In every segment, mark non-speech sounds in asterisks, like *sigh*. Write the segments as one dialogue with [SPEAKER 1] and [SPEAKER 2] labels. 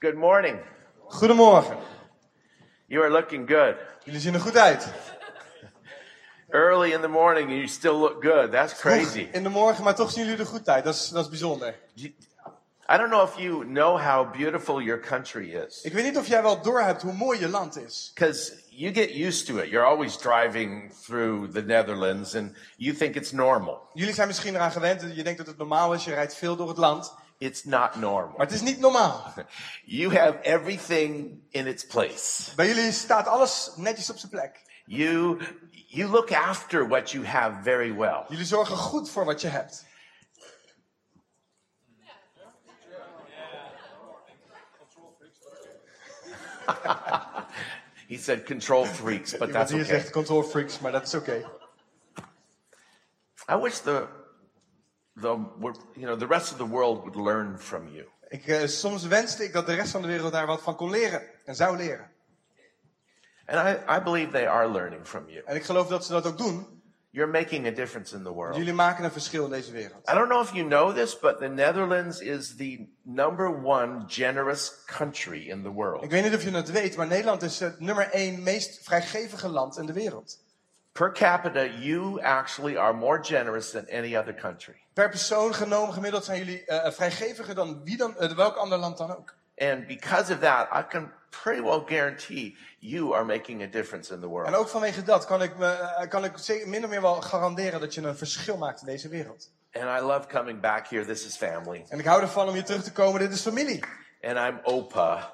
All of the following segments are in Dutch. [SPEAKER 1] Good morning.
[SPEAKER 2] Goedemorgen.
[SPEAKER 1] You are looking good.
[SPEAKER 2] Jullie zien er goed uit.
[SPEAKER 1] Early in the morning, you still look good. That's crazy.
[SPEAKER 2] Vroeg In de morgen, maar toch zien jullie er goed uit. Dat is, dat is bijzonder.
[SPEAKER 1] You- I don't know if you know how beautiful your country is
[SPEAKER 2] Ik weet niet of jij wel doorhebt hoe mooi je land is.
[SPEAKER 1] because you get used to it. You're always driving through the Netherlands and you think it's normal.
[SPEAKER 2] Jullie zijn misschien eraan gewend. Je denkt dat het normaal is. Je rijdt veel door het land.
[SPEAKER 1] It's not normal.
[SPEAKER 2] Maar het is niet normaal.
[SPEAKER 1] You have everything in its place.
[SPEAKER 2] Bij jullie staat alles netjes op zijn plek.
[SPEAKER 1] You you look after what you have very well.
[SPEAKER 2] Jullie zorgen goed voor wat je hebt.
[SPEAKER 1] He said control freaks,
[SPEAKER 2] *laughs*
[SPEAKER 1] but
[SPEAKER 2] Iemand
[SPEAKER 1] that's
[SPEAKER 2] hier
[SPEAKER 1] okay.
[SPEAKER 2] zegt control freaks, maar dat is oké.
[SPEAKER 1] I wish the the you know the rest of the world would learn from you.
[SPEAKER 2] Ik, eh, soms wenste ik dat de rest van de wereld daar wat van kon leren. En zou leren.
[SPEAKER 1] And I, I believe they are learning from you.
[SPEAKER 2] En ik geloof dat ze dat ook doen.
[SPEAKER 1] You're making a difference in the world.
[SPEAKER 2] Jullie maken een verschil in deze wereld.
[SPEAKER 1] I don't know if you know this, but the Netherlands is the number one generous country in the
[SPEAKER 2] Ik
[SPEAKER 1] world.
[SPEAKER 2] weet niet of je het weet, maar Nederland is het nummer één meest vrijgevige land in de wereld.
[SPEAKER 1] Per capita, you actually are more generous than any other country.
[SPEAKER 2] Per persoon genomen gemiddeld zijn jullie eh, vrijgeviger dan wie dan, eh, welk ander land dan ook.
[SPEAKER 1] And because of that, I can pretty well guarantee you are making a difference in the
[SPEAKER 2] En
[SPEAKER 1] world.
[SPEAKER 2] ook vanwege dat kan ik, me, eh, kan ik zeker min of meer wel garanderen dat je een verschil maakt in deze wereld.
[SPEAKER 1] And I love coming back here. This is family.
[SPEAKER 2] En ik hou ervan om hier terug te komen. Dit is familie.
[SPEAKER 1] And I'm Opa.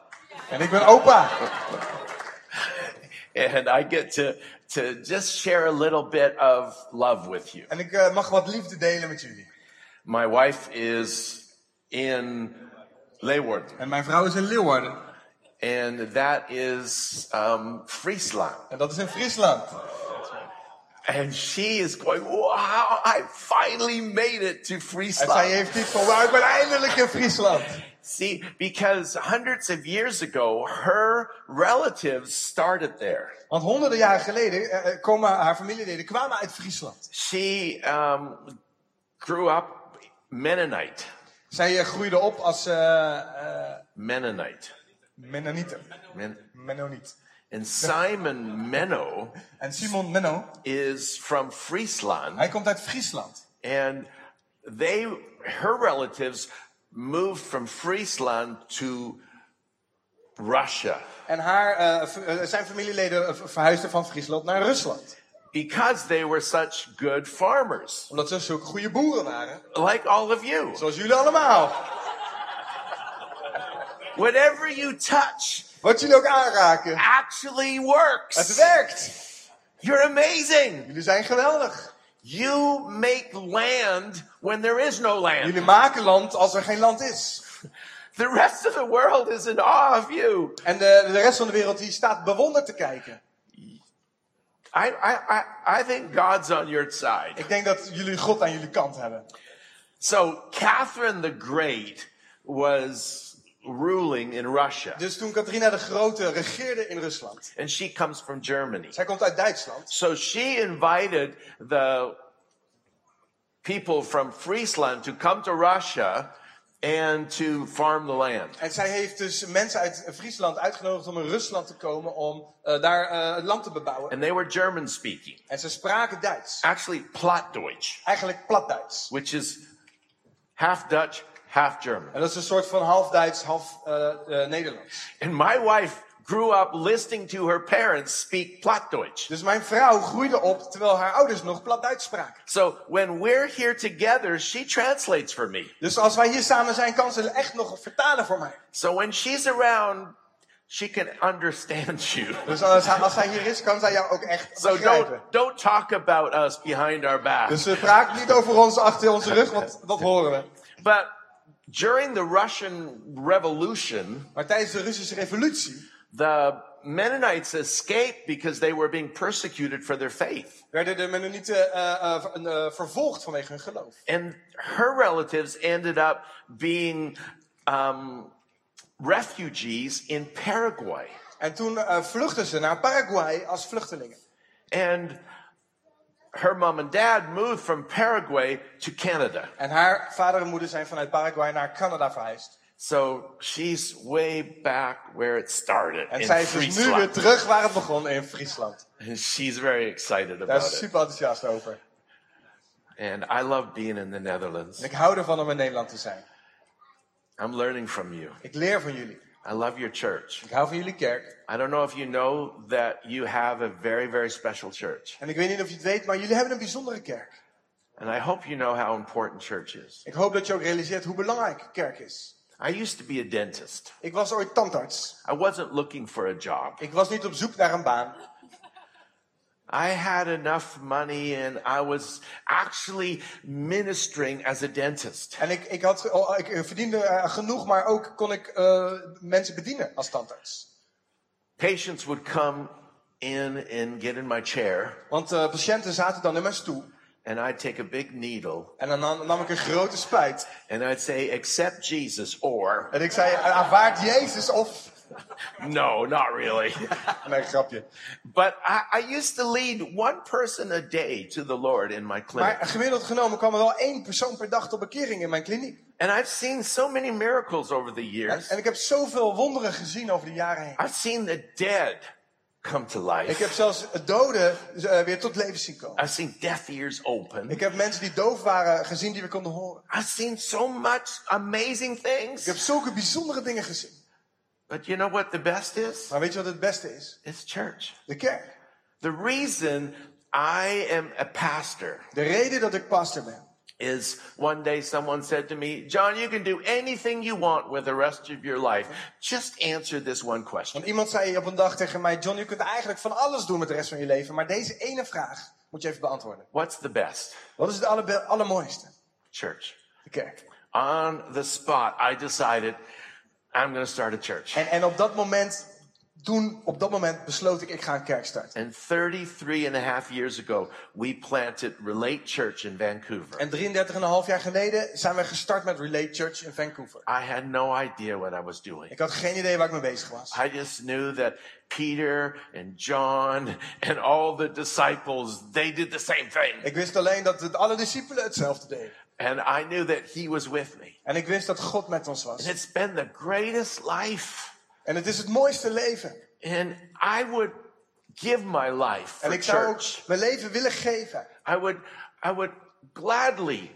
[SPEAKER 2] En ik ben opa.
[SPEAKER 1] And I get to, to just share a little bit of love with you.
[SPEAKER 2] En ik eh, mag wat liefde delen met jullie.
[SPEAKER 1] My wife is in Leeuwarden,
[SPEAKER 2] En mijn vrouw is in Leeuwarden.
[SPEAKER 1] and that is um, Friesland.
[SPEAKER 2] En dat is in Friesland.
[SPEAKER 1] And she is going, wow, I finally made it to
[SPEAKER 2] En zij
[SPEAKER 1] Friesland.
[SPEAKER 2] heeft iets van, wauw, ik ben eindelijk in Friesland.
[SPEAKER 1] See, because hundreds of years ago, her relatives started there.
[SPEAKER 2] Want honderden jaren geleden eh, komen haar familieleden kwamen uit Friesland.
[SPEAKER 1] She um, grew up Mennonite.
[SPEAKER 2] Zij eh, groeide op als eh eh
[SPEAKER 1] Mennonite.
[SPEAKER 2] Mennonieten.
[SPEAKER 1] Men-
[SPEAKER 2] Mennoniet.
[SPEAKER 1] and Simon Menno
[SPEAKER 2] En Simon Menno,
[SPEAKER 1] is from Friesland.
[SPEAKER 2] hij komt uit Friesland.
[SPEAKER 1] and they her relatives moved from Friesland to Russia
[SPEAKER 2] En haar, eh, v- eh, zijn familieleden eh, verhuisden van Friesland naar Rusland.
[SPEAKER 1] because they were such good farmers
[SPEAKER 2] Omdat ze zulke goede boeren waren.
[SPEAKER 1] like all of you
[SPEAKER 2] Zoals jullie allemaal.
[SPEAKER 1] whatever you touch
[SPEAKER 2] Wat jullie ook aanraken.
[SPEAKER 1] actually
[SPEAKER 2] Het
[SPEAKER 1] works
[SPEAKER 2] werkt.
[SPEAKER 1] you're amazing
[SPEAKER 2] Jullie zijn geweldig.
[SPEAKER 1] you make land when there is no land
[SPEAKER 2] Jullie maken land als er geen land is.
[SPEAKER 1] the rest of the world is in awe of you
[SPEAKER 2] En de, de rest van de wereld die staat bewonderd te kijken.
[SPEAKER 1] I, I, I, I think God's on your side
[SPEAKER 2] Ik denk dat jullie God aan jullie kant hebben.
[SPEAKER 1] So Catherine the Great was ruling in Russia,
[SPEAKER 2] Dus toen Katrina de Grote regeerde in Rusland.
[SPEAKER 1] and she comes from Germany.
[SPEAKER 2] Zij komt uit Duitsland.
[SPEAKER 1] So she invited the people from Friesland to come to Russia and to farm the land.
[SPEAKER 2] En zij heeft dus mensen uit Friesland uitgenodigd om in Rusland te komen om eh, daar eh, het land te bebouwen.
[SPEAKER 1] And they were German speaking,
[SPEAKER 2] En ze spraken Duits.
[SPEAKER 1] actually Plattdeutsch,
[SPEAKER 2] Eigenlijk plat Duits.
[SPEAKER 1] which is half Dutch, half German.
[SPEAKER 2] En dat is een soort van half Duits, half eh, eh, Nederlands.
[SPEAKER 1] And my wife grew up listening to her parents speak Plattdeutsch.
[SPEAKER 2] Dus mijn vrouw groeide op terwijl haar ouders nog plat Duits spraken.
[SPEAKER 1] So when we're here together, she translates for me.
[SPEAKER 2] Dus als wij hier samen zijn, kan ze echt nog vertalen voor mij.
[SPEAKER 1] So when she's around, she can understand *laughs* you.
[SPEAKER 2] Dus als, als zij hier is, kan zij jou ook echt
[SPEAKER 1] So
[SPEAKER 2] begrijpen.
[SPEAKER 1] don't don't talk about us behind our back.
[SPEAKER 2] Dus ze praat niet over ons achter onze rug, want dat horen we.
[SPEAKER 1] But during the Russian Revolution,
[SPEAKER 2] Maar tijdens de Russische revolutie
[SPEAKER 1] the Mennonites escaped because they were being persecuted for their faith.
[SPEAKER 2] werden de Mennonieten eh, eh, ver- eh, vervolgd vanwege hun geloof.
[SPEAKER 1] And her relatives ended up being um, refugees in Paraguay.
[SPEAKER 2] En toen eh, vluchtten ze naar Paraguay als vluchtelingen.
[SPEAKER 1] And her mom and dad moved from Paraguay to Canada.
[SPEAKER 2] En haar vader en moeder zijn vanuit Paraguay naar Canada verhuisd.
[SPEAKER 1] So she's way back where it started
[SPEAKER 2] En
[SPEAKER 1] in
[SPEAKER 2] zij is dus nu weer
[SPEAKER 1] Friesland.
[SPEAKER 2] terug waar het begon in Friesland.
[SPEAKER 1] *laughs* And she's very excited
[SPEAKER 2] Daar
[SPEAKER 1] about
[SPEAKER 2] is ze
[SPEAKER 1] it.
[SPEAKER 2] super enthousiast over.
[SPEAKER 1] And I love being in the Netherlands.
[SPEAKER 2] En ik hou ervan om in Nederland te zijn.
[SPEAKER 1] I'm learning from you.
[SPEAKER 2] Ik leer van jullie.
[SPEAKER 1] I love your church.
[SPEAKER 2] Ik hou van jullie kerk.
[SPEAKER 1] I don't know if you know that you have a very, very special church.
[SPEAKER 2] En ik weet niet of je het weet, maar jullie hebben een bijzondere kerk.
[SPEAKER 1] And I hope you know how important church is.
[SPEAKER 2] Ik hoop dat je ook realiseert hoe belangrijk kerk is.
[SPEAKER 1] I used to be a dentist.
[SPEAKER 2] Ik was ooit tandarts.
[SPEAKER 1] I wasn't looking for a job.
[SPEAKER 2] Ik was niet op zoek naar een baan.
[SPEAKER 1] I had enough money and I was actually ministering as a dentist.
[SPEAKER 2] En ik, ik, had, ge- oh, ik eh, verdiende eh, genoeg, maar ook kon ik eh, mensen bedienen als tandarts.
[SPEAKER 1] Patients would come in and get in my chair,
[SPEAKER 2] Want eh, patiënten zaten dan in mijn stoel.
[SPEAKER 1] and I'd take a big needle
[SPEAKER 2] En dan nam, nam ik een grote spuit.
[SPEAKER 1] and I'd say, Accept Jesus, or
[SPEAKER 2] En ik zei, aanvaard Jezus of...
[SPEAKER 1] no, not really.
[SPEAKER 2] Nee, grapje.
[SPEAKER 1] but I, I used to lead one person a day to the Lord in my clinic.
[SPEAKER 2] Maar gemiddeld genomen kwam er wel één persoon per dag tot bekering in mijn kliniek.
[SPEAKER 1] and I've seen so many miracles over the
[SPEAKER 2] En,
[SPEAKER 1] years.
[SPEAKER 2] en ik heb zoveel wonderen gezien over de jaren heen.
[SPEAKER 1] I've seen the dead come to
[SPEAKER 2] Ik heb
[SPEAKER 1] life.
[SPEAKER 2] zelfs doden eh, weer tot leven zien komen.
[SPEAKER 1] I've seen deaf ears open.
[SPEAKER 2] Ik heb mensen die doof waren gezien die weer konden horen.
[SPEAKER 1] I've seen so much amazing
[SPEAKER 2] Ik heb
[SPEAKER 1] things.
[SPEAKER 2] zulke bijzondere dingen gezien.
[SPEAKER 1] But you know what the best is?
[SPEAKER 2] Maar weet je wat het beste is?
[SPEAKER 1] It's church.
[SPEAKER 2] De kerk.
[SPEAKER 1] The reason I am a pastor
[SPEAKER 2] De reden dat ik pastor ben.
[SPEAKER 1] is one day someone said to me, John, you can do anything you want with the rest of your life. Just answer this one question.
[SPEAKER 2] Want iemand zei op een dag tegen mij, John, je kunt eigenlijk van alles doen met de rest van je leven. Maar deze ene vraag moet je even beantwoorden.
[SPEAKER 1] What's the best?
[SPEAKER 2] Wat is het allerbe- allermooiste?
[SPEAKER 1] Church.
[SPEAKER 2] De kerk.
[SPEAKER 1] On the spot, I decided I'm going to start a church.
[SPEAKER 2] En, en op dat moment, toen, op dat moment besloot ik, ik ga een kerk starten.
[SPEAKER 1] And 33 and a half years ago, we planted Relate Church in Vancouver.
[SPEAKER 2] En 33,5 jaar geleden zijn we gestart met Relate Church in Vancouver.
[SPEAKER 1] I had no idea what I was doing.
[SPEAKER 2] Ik had geen idee waar ik mee bezig was.
[SPEAKER 1] I just knew that Peter and John and all the disciples, they did the same thing.
[SPEAKER 2] Ik wist alleen dat het, alle discipelen hetzelfde deden.
[SPEAKER 1] And I knew that he was with me.
[SPEAKER 2] En ik wist dat God met ons was.
[SPEAKER 1] And it's been the greatest life.
[SPEAKER 2] En het is het mooiste leven.
[SPEAKER 1] And I would give my life
[SPEAKER 2] En
[SPEAKER 1] for
[SPEAKER 2] ik zou ook
[SPEAKER 1] church.
[SPEAKER 2] mijn leven willen geven.
[SPEAKER 1] I would, I would gladly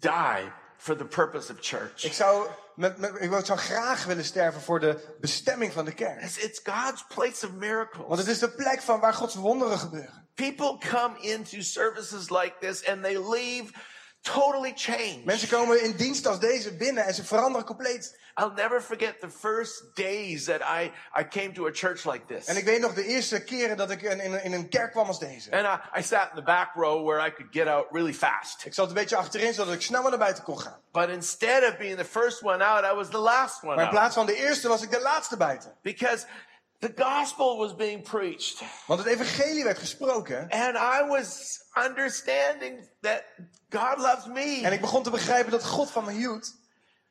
[SPEAKER 1] die for the purpose of
[SPEAKER 2] Ik
[SPEAKER 1] church.
[SPEAKER 2] zou, met, met, ik zou graag willen sterven voor de bestemming van de kerk.
[SPEAKER 1] It's, it's God's place of miracles.
[SPEAKER 2] Want het is de plek van waar Gods wonderen gebeuren.
[SPEAKER 1] People come into services like this and they leave totally changed.
[SPEAKER 2] Mensen komen in dienst als deze binnen en ze veranderen compleet.
[SPEAKER 1] I'll never forget the first days that I, I came to a church like this.
[SPEAKER 2] En ik weet nog de eerste keren dat ik in, in, in een kerk kwam als deze.
[SPEAKER 1] And I, I sat in the back row where I could get out really fast.
[SPEAKER 2] Ik zat een beetje achterin zodat ik snel maar naar buiten kon gaan.
[SPEAKER 1] But instead of being the first one out, I was the last one
[SPEAKER 2] Maar in
[SPEAKER 1] out.
[SPEAKER 2] plaats van de eerste was ik de laatste buiten.
[SPEAKER 1] Because the gospel was being preached.
[SPEAKER 2] Want het evangelie werd gesproken.
[SPEAKER 1] And I was understanding that God loves me.
[SPEAKER 2] En ik begon te begrijpen dat God van me hield.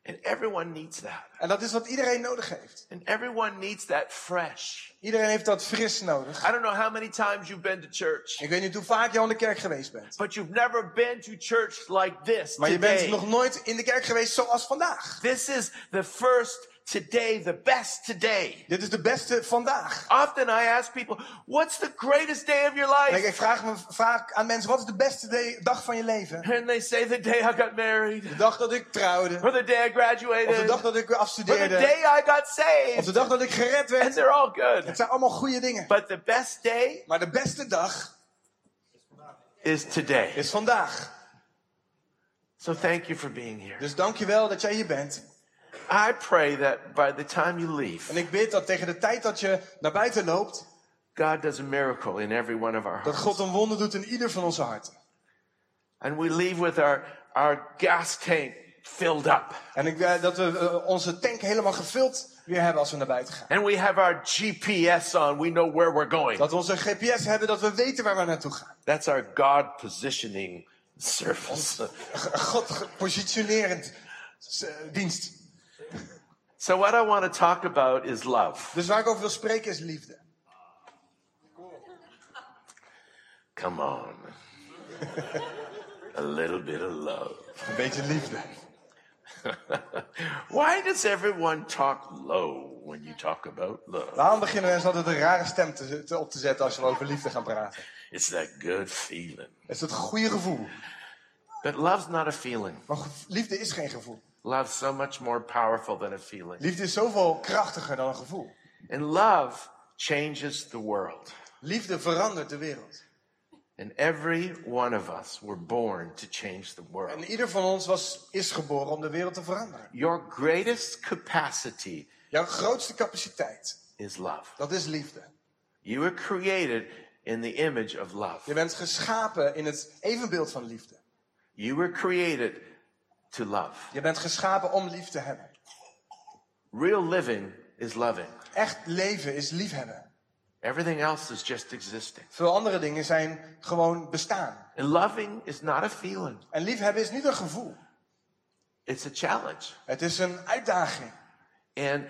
[SPEAKER 1] And everyone needs that.
[SPEAKER 2] En dat is wat iedereen nodig heeft.
[SPEAKER 1] And everyone needs that fresh.
[SPEAKER 2] Iedereen heeft dat fris nodig.
[SPEAKER 1] I don't know how many times you've been to church,
[SPEAKER 2] Ik weet niet hoe vaak je al in de kerk geweest bent.
[SPEAKER 1] but you've never been to church like this.
[SPEAKER 2] Maar je
[SPEAKER 1] today.
[SPEAKER 2] bent nog nooit in de kerk geweest zoals vandaag.
[SPEAKER 1] This is the first today, the best today.
[SPEAKER 2] Dit is de beste vandaag.
[SPEAKER 1] Often I ask people, what's the greatest day of your
[SPEAKER 2] En ik,
[SPEAKER 1] life?
[SPEAKER 2] ik vraag, me, vraag aan mensen, wat is de beste de- dag van je leven?
[SPEAKER 1] And they say the day I got married,
[SPEAKER 2] De dag dat ik trouwde.
[SPEAKER 1] or the day I
[SPEAKER 2] Of de
[SPEAKER 1] graduated,
[SPEAKER 2] dag
[SPEAKER 1] or
[SPEAKER 2] dat ik
[SPEAKER 1] the
[SPEAKER 2] afstudeerde.
[SPEAKER 1] day I got
[SPEAKER 2] Of de
[SPEAKER 1] saved.
[SPEAKER 2] dag dat ik gered
[SPEAKER 1] And
[SPEAKER 2] werd.
[SPEAKER 1] they're all good.
[SPEAKER 2] Het zijn allemaal goede dingen.
[SPEAKER 1] But the best day
[SPEAKER 2] Maar de beste dag
[SPEAKER 1] is today.
[SPEAKER 2] is vandaag.
[SPEAKER 1] So thank you for being here.
[SPEAKER 2] Dus dankjewel dat jij hier bent.
[SPEAKER 1] I pray that by the time you leave,
[SPEAKER 2] En ik bid dat tegen de tijd dat je naar buiten loopt,
[SPEAKER 1] God does a miracle in every one of our
[SPEAKER 2] dat
[SPEAKER 1] hearts.
[SPEAKER 2] God een wonder doet in ieder van onze harten.
[SPEAKER 1] And we leave with our, our gas tank filled up.
[SPEAKER 2] En ik, eh, dat we eh, onze tank helemaal gevuld weer hebben als we naar buiten gaan.
[SPEAKER 1] And we have our GPS on. We know where we're going.
[SPEAKER 2] Dat we onze GPS hebben, dat we weten waar we naartoe gaan.
[SPEAKER 1] That's our God positioning service.
[SPEAKER 2] G- God gepositionerend s- eh, dienst.
[SPEAKER 1] So, what I want to talk about is love.
[SPEAKER 2] Dus waar ik over wil spreken is liefde.
[SPEAKER 1] Come on. *laughs* a little bit of love.
[SPEAKER 2] Een beetje liefde.
[SPEAKER 1] Why does everyone talk low when you talk about love?
[SPEAKER 2] Waarom beginnen mensen altijd een rare stem te, te- op te zetten als we over liefde gaan praten?
[SPEAKER 1] It's that good feeling.
[SPEAKER 2] Het is het goede gevoel.
[SPEAKER 1] But love's not a feeling.
[SPEAKER 2] Maar ge- liefde is geen gevoel.
[SPEAKER 1] Love's so much more powerful than a feeling.
[SPEAKER 2] Liefde is zoveel krachtiger dan een gevoel.
[SPEAKER 1] And love changes the world.
[SPEAKER 2] Liefde verandert de wereld.
[SPEAKER 1] And every one of us were born to change the world.
[SPEAKER 2] En ieder van ons was, is geboren om de wereld te veranderen.
[SPEAKER 1] Your greatest capacity
[SPEAKER 2] Jouw grootste capaciteit,
[SPEAKER 1] is love.
[SPEAKER 2] dat is liefde.
[SPEAKER 1] You were created in the image of love.
[SPEAKER 2] Je bent geschapen in het evenbeeld van liefde.
[SPEAKER 1] You were created to love.
[SPEAKER 2] Je bent geschapen om lief te hebben.
[SPEAKER 1] Real living is loving.
[SPEAKER 2] Echt leven is liefhebben.
[SPEAKER 1] Everything else is just existing.
[SPEAKER 2] Veel andere dingen zijn gewoon bestaan.
[SPEAKER 1] And loving is not a feeling,
[SPEAKER 2] En liefhebben is niet een gevoel.
[SPEAKER 1] it's a challenge.
[SPEAKER 2] Het is een uitdaging.
[SPEAKER 1] And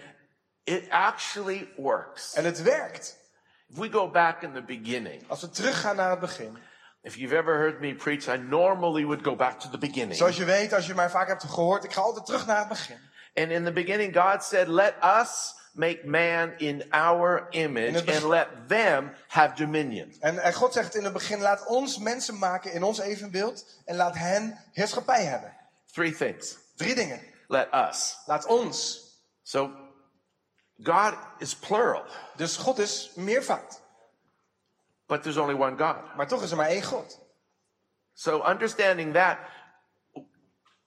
[SPEAKER 1] it actually works.
[SPEAKER 2] En het werkt.
[SPEAKER 1] If we go back in the beginning,
[SPEAKER 2] Als we teruggaan naar het begin.
[SPEAKER 1] if you've ever heard me preach, I normally would go back to the beginning.
[SPEAKER 2] Zoals je weet, als je mij vaak hebt gehoord, ik ga altijd terug naar het begin.
[SPEAKER 1] And in the beginning, God said, Let us make man in our image
[SPEAKER 2] het beg-
[SPEAKER 1] and let them have dominion.
[SPEAKER 2] En eh, God zegt in het begin, laat ons mensen maken in ons evenbeeld en laat hen heerschappij hebben.
[SPEAKER 1] Three things.
[SPEAKER 2] Drie dingen.
[SPEAKER 1] Let us.
[SPEAKER 2] Laat ons.
[SPEAKER 1] So God is plural,
[SPEAKER 2] Dus God is meervoud.
[SPEAKER 1] but there's only one God.
[SPEAKER 2] Maar toch is er maar één God.
[SPEAKER 1] So understanding that,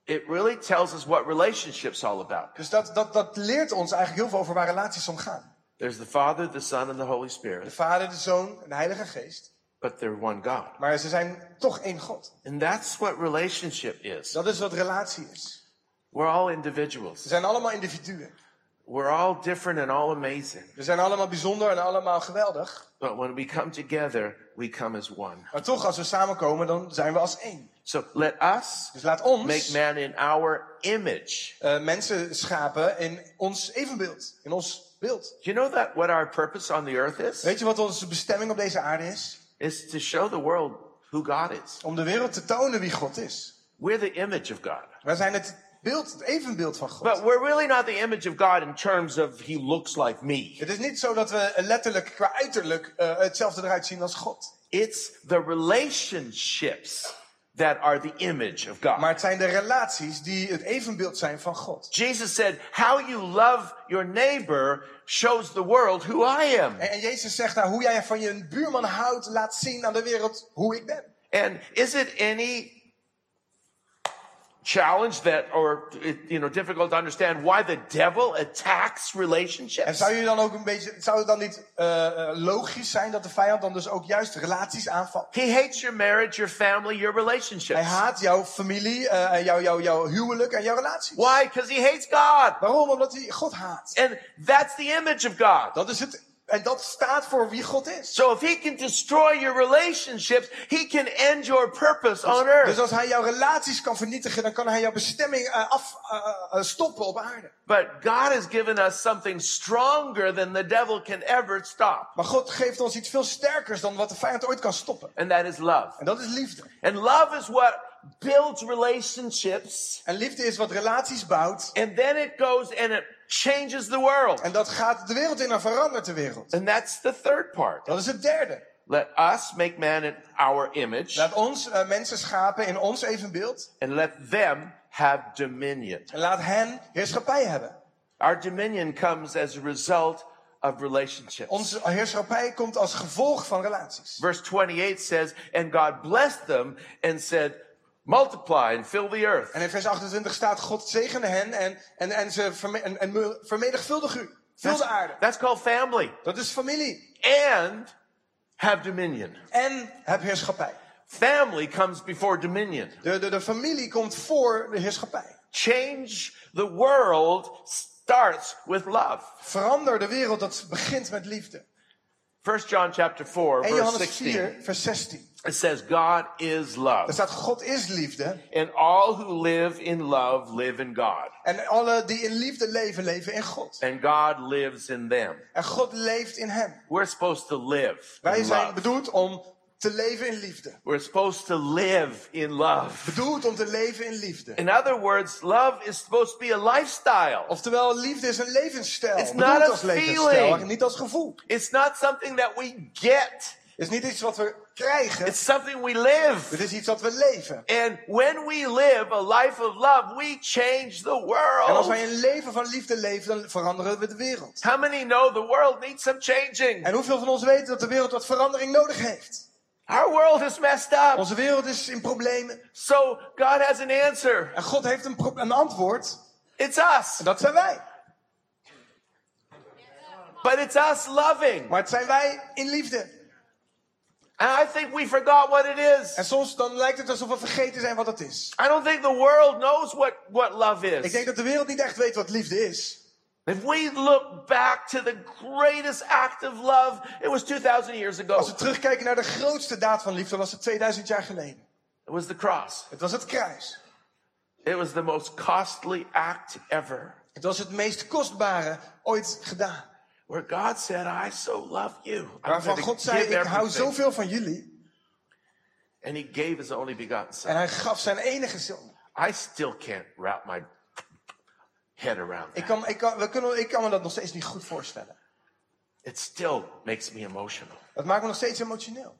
[SPEAKER 1] it really tells us what relationship's all about.
[SPEAKER 2] Dus dat, dat, dat leert ons eigenlijk heel veel over waar relaties om gaan.
[SPEAKER 1] There's the Father, the Son, and the Holy
[SPEAKER 2] De
[SPEAKER 1] Spirit,
[SPEAKER 2] Vader, de Zoon en de Heilige Geest.
[SPEAKER 1] but they're one God.
[SPEAKER 2] Maar ze zijn toch één God.
[SPEAKER 1] And that's what relationship is.
[SPEAKER 2] Dat is wat relatie is.
[SPEAKER 1] We're all
[SPEAKER 2] Ze
[SPEAKER 1] individuals.
[SPEAKER 2] zijn allemaal individuen.
[SPEAKER 1] We're all different and all amazing.
[SPEAKER 2] We zijn allemaal bijzonder en allemaal geweldig.
[SPEAKER 1] But when we come together, we come as one.
[SPEAKER 2] Maar toch, als we samenkomen, dan zijn we als één.
[SPEAKER 1] So let us
[SPEAKER 2] Dus laat ons
[SPEAKER 1] make man in our image.
[SPEAKER 2] eh, mensen schapen in ons evenbeeld. In ons beeld.
[SPEAKER 1] Do you know that what our purpose on the earth is?
[SPEAKER 2] Weet je wat onze bestemming op deze aarde is?
[SPEAKER 1] Is to show the world who God is.
[SPEAKER 2] Om de wereld te tonen wie God is.
[SPEAKER 1] We're the image of God.
[SPEAKER 2] Wij zijn het beeld, het evenbeeld van God.
[SPEAKER 1] But we're really not the image of God in terms of he looks like me.
[SPEAKER 2] Het is niet zo dat we letterlijk qua uiterlijk eh, hetzelfde eruit zien als God.
[SPEAKER 1] It's the relationships that are the image of
[SPEAKER 2] Maar
[SPEAKER 1] God.
[SPEAKER 2] het zijn de relaties die het evenbeeld zijn van God.
[SPEAKER 1] Jesus said, How you love your neighbor shows the world who I am.
[SPEAKER 2] En, en Jezus zegt nou, hoe jij van je buurman houdt, laat zien aan de wereld hoe ik ben.
[SPEAKER 1] And is it any challenge that, or you know, difficult to understand why the devil attacks
[SPEAKER 2] En
[SPEAKER 1] relationships?
[SPEAKER 2] zou je dan ook een beetje, zou het dan niet eh, eh, logisch zijn dat de vijand dan dus ook juist relaties aanvalt?
[SPEAKER 1] He hates your marriage, your family, your relationships.
[SPEAKER 2] Hij haat jouw familie, eh jouw jou, jou huwelijk en jouw relaties.
[SPEAKER 1] Why? Because he hates God,
[SPEAKER 2] Waarom? Omdat hij God haat.
[SPEAKER 1] and that's the image of God.
[SPEAKER 2] Dat is het, en dat staat voor wie God is.
[SPEAKER 1] So if he can destroy your relationships, he can end your purpose on
[SPEAKER 2] Dus
[SPEAKER 1] earth.
[SPEAKER 2] als hij jouw relaties kan vernietigen, dan kan hij jouw bestemming eh, af, eh, eh, stoppen op aarde.
[SPEAKER 1] But God has given us something stronger than the devil can ever stop,
[SPEAKER 2] Maar God geeft ons iets veel sterkers dan wat de vijand ooit kan stoppen.
[SPEAKER 1] and that is love.
[SPEAKER 2] En dat is liefde.
[SPEAKER 1] And love is what builds relationships,
[SPEAKER 2] En liefde is wat relaties bouwt.
[SPEAKER 1] and then it goes and it changes the world.
[SPEAKER 2] En dat gaat de wereld in en verandert de wereld.
[SPEAKER 1] And that's the third part.
[SPEAKER 2] Dat is het derde.
[SPEAKER 1] Let us make man in our image,
[SPEAKER 2] Laat ons eh, mensen schapen in ons evenbeeld.
[SPEAKER 1] and let them have dominion.
[SPEAKER 2] En laat hen heerschappij hebben.
[SPEAKER 1] Our dominion comes as a result of relationships.
[SPEAKER 2] Onze heerschappij komt als gevolg van relaties.
[SPEAKER 1] Verse 28 says, And God blessed them and said, Multiply and fill the earth.
[SPEAKER 2] En in vers 28 staat, God zegende hen en, en, en, ze verme- en, en me- vermenigvuldig u. Vul
[SPEAKER 1] That's,
[SPEAKER 2] de aarde.
[SPEAKER 1] that's called family.
[SPEAKER 2] Dat is familie.
[SPEAKER 1] And have dominion.
[SPEAKER 2] En heb heerschappij.
[SPEAKER 1] Family comes before dominion.
[SPEAKER 2] De, de, de familie komt voor de heerschappij.
[SPEAKER 1] change the world starts with love.
[SPEAKER 2] Verander de wereld, dat begint met liefde.
[SPEAKER 1] 1 John chapter 4
[SPEAKER 2] En
[SPEAKER 1] verse
[SPEAKER 2] Johannes
[SPEAKER 1] 16
[SPEAKER 2] 4, vers 16.
[SPEAKER 1] it says God is
[SPEAKER 2] Daar
[SPEAKER 1] love
[SPEAKER 2] staat, God is liefde.
[SPEAKER 1] and all who live in love live in God
[SPEAKER 2] En alle die in liefde leven, leven in God.
[SPEAKER 1] and God lives in them.
[SPEAKER 2] En God leeft in hem.
[SPEAKER 1] We're supposed to live
[SPEAKER 2] Wij
[SPEAKER 1] in
[SPEAKER 2] zijn
[SPEAKER 1] love.
[SPEAKER 2] bedoeld om te leven in liefde.
[SPEAKER 1] We're supposed to live in love.
[SPEAKER 2] Bedoeld om te leven in liefde.
[SPEAKER 1] In other words, love is supposed to be a lifestyle.
[SPEAKER 2] Oftewel, liefde is een levensstijl.
[SPEAKER 1] It's
[SPEAKER 2] Bedoeld
[SPEAKER 1] not a
[SPEAKER 2] als levensstijl,
[SPEAKER 1] feeling.
[SPEAKER 2] maar niet als gevoel.
[SPEAKER 1] It's not something that we get.
[SPEAKER 2] Het is niet iets wat we krijgen.
[SPEAKER 1] It's something we live.
[SPEAKER 2] Het is iets wat we leven.
[SPEAKER 1] And when we live a life of love, we change the
[SPEAKER 2] En
[SPEAKER 1] world.
[SPEAKER 2] als wij een leven van liefde leven, dan veranderen we de wereld.
[SPEAKER 1] How many know the world needs some changing?
[SPEAKER 2] En hoeveel van ons weten dat de wereld wat verandering nodig heeft?
[SPEAKER 1] Our world is messed up.
[SPEAKER 2] Onze wereld is in problemen.
[SPEAKER 1] So God has an answer.
[SPEAKER 2] En God heeft een, pro- een antwoord.
[SPEAKER 1] It's us.
[SPEAKER 2] En dat zijn wij.
[SPEAKER 1] But it's us loving.
[SPEAKER 2] Maar het zijn wij in liefde.
[SPEAKER 1] And I think we forgot what it
[SPEAKER 2] En
[SPEAKER 1] is.
[SPEAKER 2] soms dan lijkt het alsof we vergeten zijn wat het is.
[SPEAKER 1] I don't think the world knows what, what love
[SPEAKER 2] Ik
[SPEAKER 1] is.
[SPEAKER 2] denk dat de wereld niet echt weet wat liefde is.
[SPEAKER 1] If we look back to the greatest act of love, it was 2,000 years ago.
[SPEAKER 2] Als we terugkijken naar de grootste daad van liefde, was het 2000 jaar geleden.
[SPEAKER 1] It was the cross.
[SPEAKER 2] Het was het kruis.
[SPEAKER 1] It was the most costly act ever.
[SPEAKER 2] Het was het meest kostbare ooit gedaan.
[SPEAKER 1] Where God said, I so love you. I'm
[SPEAKER 2] Waarvan
[SPEAKER 1] gonna
[SPEAKER 2] God zei,
[SPEAKER 1] give
[SPEAKER 2] ik hou
[SPEAKER 1] everything."
[SPEAKER 2] zoveel van jullie.
[SPEAKER 1] And he gave his only begotten
[SPEAKER 2] En
[SPEAKER 1] son.
[SPEAKER 2] hij gaf zijn enige zoon.
[SPEAKER 1] I still can't wrap my head around
[SPEAKER 2] Ik
[SPEAKER 1] that.
[SPEAKER 2] kan, ik, kan, we kunnen, ik kan me dat nog steeds niet goed voorstellen.
[SPEAKER 1] It still makes me emotional.
[SPEAKER 2] Dat maakt me nog steeds emotioneel.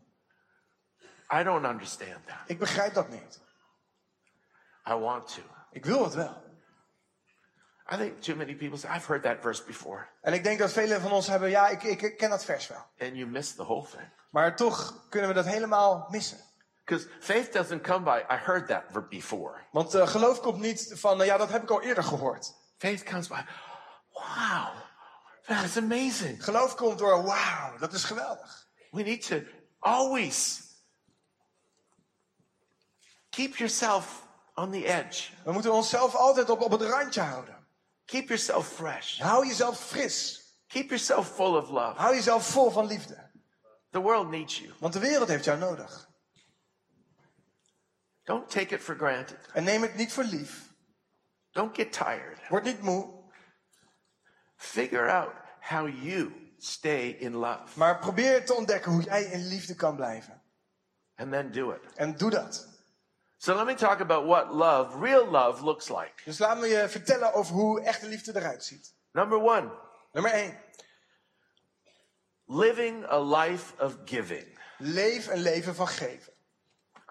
[SPEAKER 1] I don't understand that.
[SPEAKER 2] Ik begrijp dat niet.
[SPEAKER 1] I want to.
[SPEAKER 2] Ik wil het wel.
[SPEAKER 1] I think too many people say, I've heard that verse before.
[SPEAKER 2] En ik denk dat velen van ons hebben, ja, ik, ik, ik ken dat vers wel.
[SPEAKER 1] And you miss the whole thing.
[SPEAKER 2] Maar toch kunnen we dat helemaal missen.
[SPEAKER 1] Because faith doesn't come by, I heard that ver- before.
[SPEAKER 2] Want eh, geloof komt niet van, eh, ja, dat heb ik al eerder gehoord.
[SPEAKER 1] Faith comes by, wow, that is amazing.
[SPEAKER 2] Geloof komt door, wauw, dat is geweldig.
[SPEAKER 1] We need to always keep yourself on the edge,
[SPEAKER 2] We moeten onszelf altijd op, op het randje houden.
[SPEAKER 1] keep yourself fresh,
[SPEAKER 2] Hou jezelf fris.
[SPEAKER 1] keep yourself full of love.
[SPEAKER 2] Hou jezelf vol van liefde.
[SPEAKER 1] The world needs you.
[SPEAKER 2] Want de wereld heeft jou nodig.
[SPEAKER 1] Don't take it for granted.
[SPEAKER 2] En neem het niet voor lief.
[SPEAKER 1] Don't get tired.
[SPEAKER 2] Word niet moe.
[SPEAKER 1] Figure out how you stay in love
[SPEAKER 2] Maar probeer te ontdekken hoe jij in liefde kan blijven.
[SPEAKER 1] and then do it.
[SPEAKER 2] En doe dat.
[SPEAKER 1] So let me talk about what love, real love, looks like.
[SPEAKER 2] Dus laat me je vertellen over hoe echte liefde eruit ziet.
[SPEAKER 1] Number one,
[SPEAKER 2] Nummer 1.
[SPEAKER 1] living a life of giving.
[SPEAKER 2] Leef een leven van geven.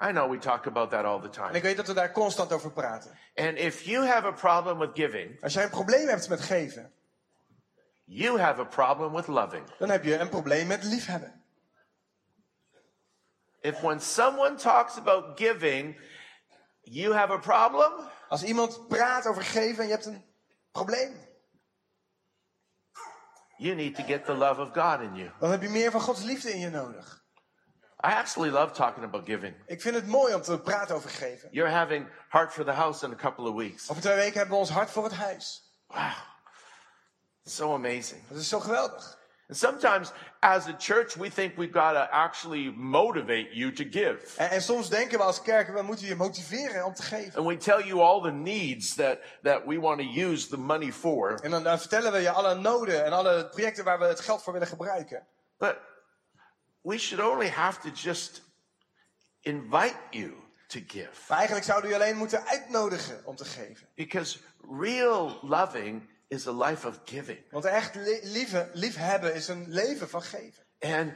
[SPEAKER 1] I know we talk about that all the
[SPEAKER 2] En ik
[SPEAKER 1] time.
[SPEAKER 2] weet dat we daar constant over praten.
[SPEAKER 1] And if you have a problem with giving,
[SPEAKER 2] Als jij een probleem hebt met geven,
[SPEAKER 1] you have a problem with loving.
[SPEAKER 2] dan heb je een probleem met liefhebben.
[SPEAKER 1] If when someone talks about giving, you have a problem,
[SPEAKER 2] Als iemand praat over geven en je hebt een probleem,
[SPEAKER 1] you need to get the love of God in you.
[SPEAKER 2] dan heb je meer van Gods liefde in je nodig.
[SPEAKER 1] I actually love talking about giving.
[SPEAKER 2] Ik vind het mooi om te praten over geven.
[SPEAKER 1] You're having Heart for the House in a couple of weeks.
[SPEAKER 2] Over twee weken hebben we ons hart voor het huis.
[SPEAKER 1] Wow. So amazing.
[SPEAKER 2] Dat is zo geweldig.
[SPEAKER 1] And sometimes as a church, we think we've got to actually motivate you to give.
[SPEAKER 2] En, en soms denken we als kerken, we moeten je motiveren om te geven.
[SPEAKER 1] And we tell you all the needs that, that we want to use the money for.
[SPEAKER 2] En dan eh, vertellen we je alle noden en alle projecten waar we het geld voor willen gebruiken.
[SPEAKER 1] But we should only have to just invite you to give.
[SPEAKER 2] Maar eigenlijk zouden we je alleen moeten uitnodigen om te geven.
[SPEAKER 1] Because real loving is a life of giving.
[SPEAKER 2] Want echt li- lieve, liefhebben is een leven van geven.
[SPEAKER 1] And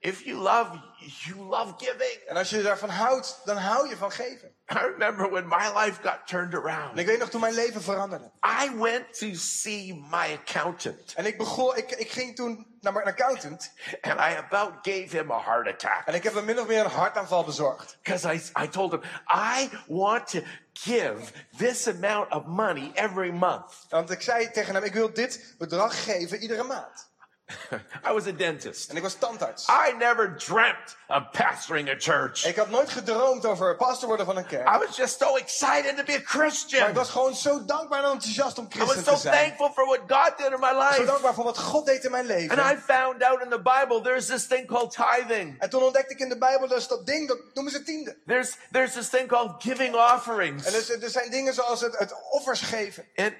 [SPEAKER 1] if you love, you love giving.
[SPEAKER 2] En als je daarvan houdt, dan hou je van geven.
[SPEAKER 1] I remember when my life got turned
[SPEAKER 2] En ik
[SPEAKER 1] around.
[SPEAKER 2] weet nog toen mijn leven veranderde.
[SPEAKER 1] I went to see my accountant
[SPEAKER 2] En ik, begon, ik, ik ging toen naar mijn accountant.
[SPEAKER 1] and I about gave him a heart attack.
[SPEAKER 2] En ik heb hem min of meer een hartaanval bezorgd.
[SPEAKER 1] Because I, I told him, I want to give this amount of money every
[SPEAKER 2] *laughs*
[SPEAKER 1] month.
[SPEAKER 2] Want ik zei tegen hem, ik wil dit bedrag geven iedere maand.
[SPEAKER 1] I was a dentist.
[SPEAKER 2] En ik was tandarts.
[SPEAKER 1] I never dreamt of pastoring a church.
[SPEAKER 2] Ik had nooit gedroomd over pastor worden van een kerk.
[SPEAKER 1] I was just so excited to be a Christian.
[SPEAKER 2] Maar ik was gewoon zo dankbaar en enthousiast om
[SPEAKER 1] I was
[SPEAKER 2] christen
[SPEAKER 1] so
[SPEAKER 2] te zijn.
[SPEAKER 1] thankful for what God did in my
[SPEAKER 2] Zo
[SPEAKER 1] life.
[SPEAKER 2] dankbaar voor wat God deed in mijn leven.
[SPEAKER 1] And I found out in the Bible there's this thing called tithing.
[SPEAKER 2] En toen ontdekte ik in de Bijbel dus dat ding, dat noemen ze tiende.
[SPEAKER 1] There's there's this thing called giving
[SPEAKER 2] En
[SPEAKER 1] offerings.
[SPEAKER 2] dus, er zijn dingen zoals het, het offers geven.
[SPEAKER 1] And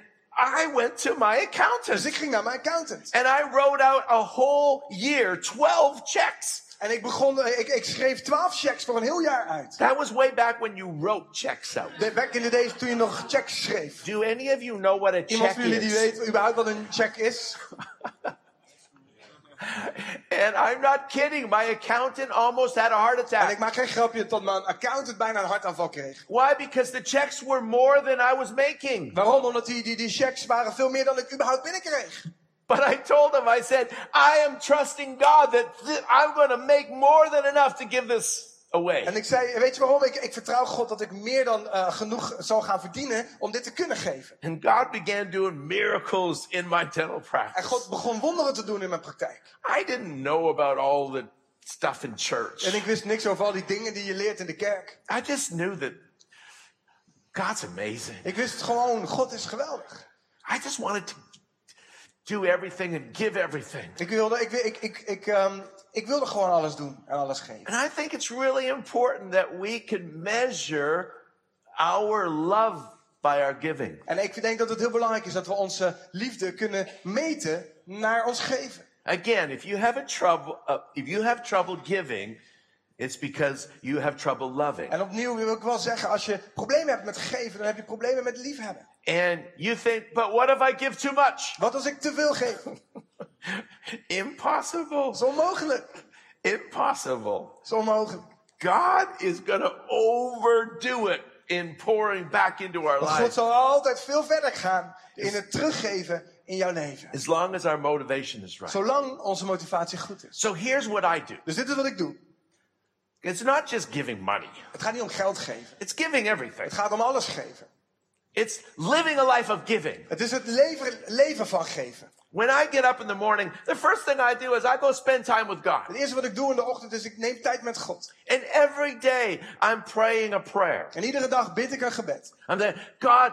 [SPEAKER 1] I went to my
[SPEAKER 2] Dus
[SPEAKER 1] accountant
[SPEAKER 2] ik ging naar mijn accountant.
[SPEAKER 1] and I wrote out a whole year, 12 checks.
[SPEAKER 2] En ik, begon, eh, ik, ik schreef 12 checks voor een heel jaar uit.
[SPEAKER 1] That was way back when you wrote checks out.
[SPEAKER 2] De- Back in the days toen je nog checks schreef.
[SPEAKER 1] Do any of you know what a
[SPEAKER 2] Iemand
[SPEAKER 1] check
[SPEAKER 2] van jullie die
[SPEAKER 1] is?
[SPEAKER 2] weet überhaupt wat een check is?
[SPEAKER 1] And I'm not kidding. My accountant almost had a heart
[SPEAKER 2] En ik
[SPEAKER 1] attack.
[SPEAKER 2] maak geen grapje tot mijn accountant bijna een hartaanval kreeg.
[SPEAKER 1] Why? Because the checks were more than I was making.
[SPEAKER 2] Waarom? Omdat die, die, die checks waren veel meer dan ik überhaupt binnenkreeg.
[SPEAKER 1] But I told him, I said, I am trusting God that th- I'm going to make more than enough to give this away.
[SPEAKER 2] En ik zei, weet je waarom? Ik, ik vertrouw God dat ik meer dan eh, genoeg zal gaan verdienen om dit te kunnen geven.
[SPEAKER 1] And God began doing miracles in my dental
[SPEAKER 2] En God
[SPEAKER 1] practice.
[SPEAKER 2] begon wonderen te doen in mijn praktijk.
[SPEAKER 1] I didn't know about all the stuff in church.
[SPEAKER 2] En ik wist niks over al die dingen die je leert in de kerk.
[SPEAKER 1] I just knew that God's amazing.
[SPEAKER 2] Ik wist gewoon, God is geweldig.
[SPEAKER 1] I just wanted to do everything and give everything.
[SPEAKER 2] Ik wilde, ik, ik, ik, ik, ehm, ik wilde gewoon alles doen en alles geven.
[SPEAKER 1] And I think it's really important that we can measure our love by our giving.
[SPEAKER 2] En ik denk dat het heel belangrijk is dat we onze liefde kunnen meten naar ons geven.
[SPEAKER 1] Again, if you have a trouble, uh, if you have trouble giving, it's because you have trouble loving.
[SPEAKER 2] En opnieuw wil ik wel zeggen, als je problemen hebt met geven, dan heb je problemen met liefhebben.
[SPEAKER 1] And you think, but what if I give too much?
[SPEAKER 2] Wat als ik te veel *laughs* geef? Dat
[SPEAKER 1] Impossible.
[SPEAKER 2] is onmogelijk.
[SPEAKER 1] Impossible.
[SPEAKER 2] Dat is onmogelijk.
[SPEAKER 1] God is going to overdo it in pouring back into our
[SPEAKER 2] God
[SPEAKER 1] lives.
[SPEAKER 2] zal altijd veel verder gaan in het teruggeven in jouw leven.
[SPEAKER 1] As long as our motivation is right.
[SPEAKER 2] Zolang onze motivatie goed is.
[SPEAKER 1] So here's what I do.
[SPEAKER 2] Dus dit is wat ik doe.
[SPEAKER 1] It's not just giving money.
[SPEAKER 2] Het gaat niet om geld geven.
[SPEAKER 1] It's giving everything.
[SPEAKER 2] Het gaat om alles geven.
[SPEAKER 1] It's living a life of giving.
[SPEAKER 2] Het is het leven, leven van geven.
[SPEAKER 1] When I get up in the morning, the first thing I do is I go spend time with God.
[SPEAKER 2] Het eerste wat ik doe in de ochtend is ik neem tijd met God.
[SPEAKER 1] And every day I'm praying a prayer.
[SPEAKER 2] En iedere dag bid ik een gebed.
[SPEAKER 1] I'm saying, God,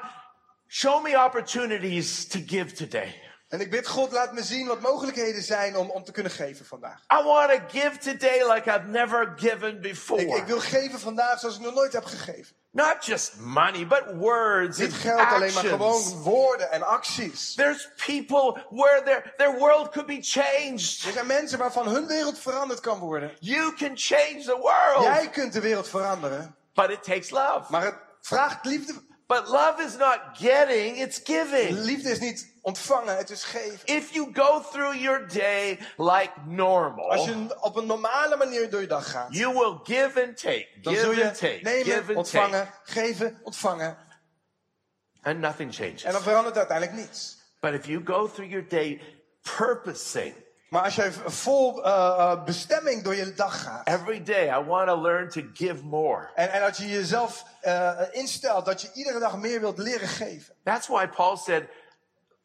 [SPEAKER 1] show me opportunities to give today.
[SPEAKER 2] En ik bid God, laat me zien wat mogelijkheden zijn om, om te kunnen geven vandaag.
[SPEAKER 1] I want to give today like I've never given
[SPEAKER 2] Ik, ik
[SPEAKER 1] before.
[SPEAKER 2] wil geven vandaag zoals ik nog nooit heb gegeven.
[SPEAKER 1] Not just money, but words and
[SPEAKER 2] Dit geldt alleen maar
[SPEAKER 1] actions.
[SPEAKER 2] gewoon woorden en acties.
[SPEAKER 1] There's people where their, their world could be
[SPEAKER 2] Er
[SPEAKER 1] changed.
[SPEAKER 2] zijn mensen waarvan hun wereld veranderd kan worden.
[SPEAKER 1] You can change the world,
[SPEAKER 2] Jij kunt de wereld veranderen,
[SPEAKER 1] but it takes love.
[SPEAKER 2] maar het vraagt liefde.
[SPEAKER 1] But love is not getting, it's giving.
[SPEAKER 2] Liefde is niet ontvangen, het is geven.
[SPEAKER 1] If you go through your day like
[SPEAKER 2] Als
[SPEAKER 1] normal,
[SPEAKER 2] je op een normale manier door je dag gaat,
[SPEAKER 1] you will give and take,
[SPEAKER 2] dan zul
[SPEAKER 1] give and
[SPEAKER 2] je
[SPEAKER 1] take, give
[SPEAKER 2] nemen,
[SPEAKER 1] and take,
[SPEAKER 2] ontvangen, geven, ontvangen.
[SPEAKER 1] and nothing
[SPEAKER 2] En
[SPEAKER 1] changes.
[SPEAKER 2] dan verandert uiteindelijk niets.
[SPEAKER 1] But if you go through your day purposing,
[SPEAKER 2] Maar als jij vol eh, eh, bestemming door je dag gaat.
[SPEAKER 1] every day I want to learn to give more.
[SPEAKER 2] En, en dat je jezelf eh, instelt dat je iedere dag meer wilt leren geven.
[SPEAKER 1] That's why Paul said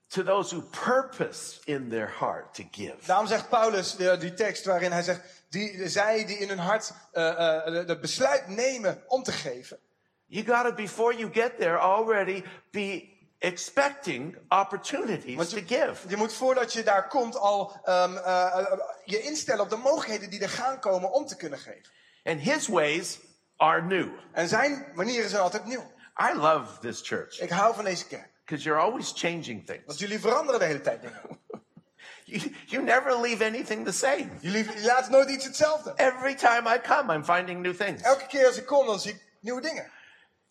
[SPEAKER 1] to those who purpose in their heart to give.
[SPEAKER 2] Daarom zegt Paulus eh, die tekst waarin hij zegt: die, zij die in hun hart eh, eh, het besluit nemen om te geven.
[SPEAKER 1] You got to, before you get there, already be expecting opportunities to give.
[SPEAKER 2] Je moet voordat je daar komt al ehm, eh, eh, je instellen op de mogelijkheden die er gaan komen om te kunnen geven.
[SPEAKER 1] And his ways are new.
[SPEAKER 2] En zijn manieren zijn altijd nieuw.
[SPEAKER 1] I love this church
[SPEAKER 2] Ik hou van deze kerk.
[SPEAKER 1] because you're always changing
[SPEAKER 2] Want
[SPEAKER 1] things.
[SPEAKER 2] jullie veranderen de hele tijd dingen.
[SPEAKER 1] You, you never leave anything the same.
[SPEAKER 2] Jullie jullie laten nooit iets hetzelfde.
[SPEAKER 1] Every time I come, I'm finding new things.
[SPEAKER 2] Elke keer als ik kom, dan zie ik nieuwe dingen.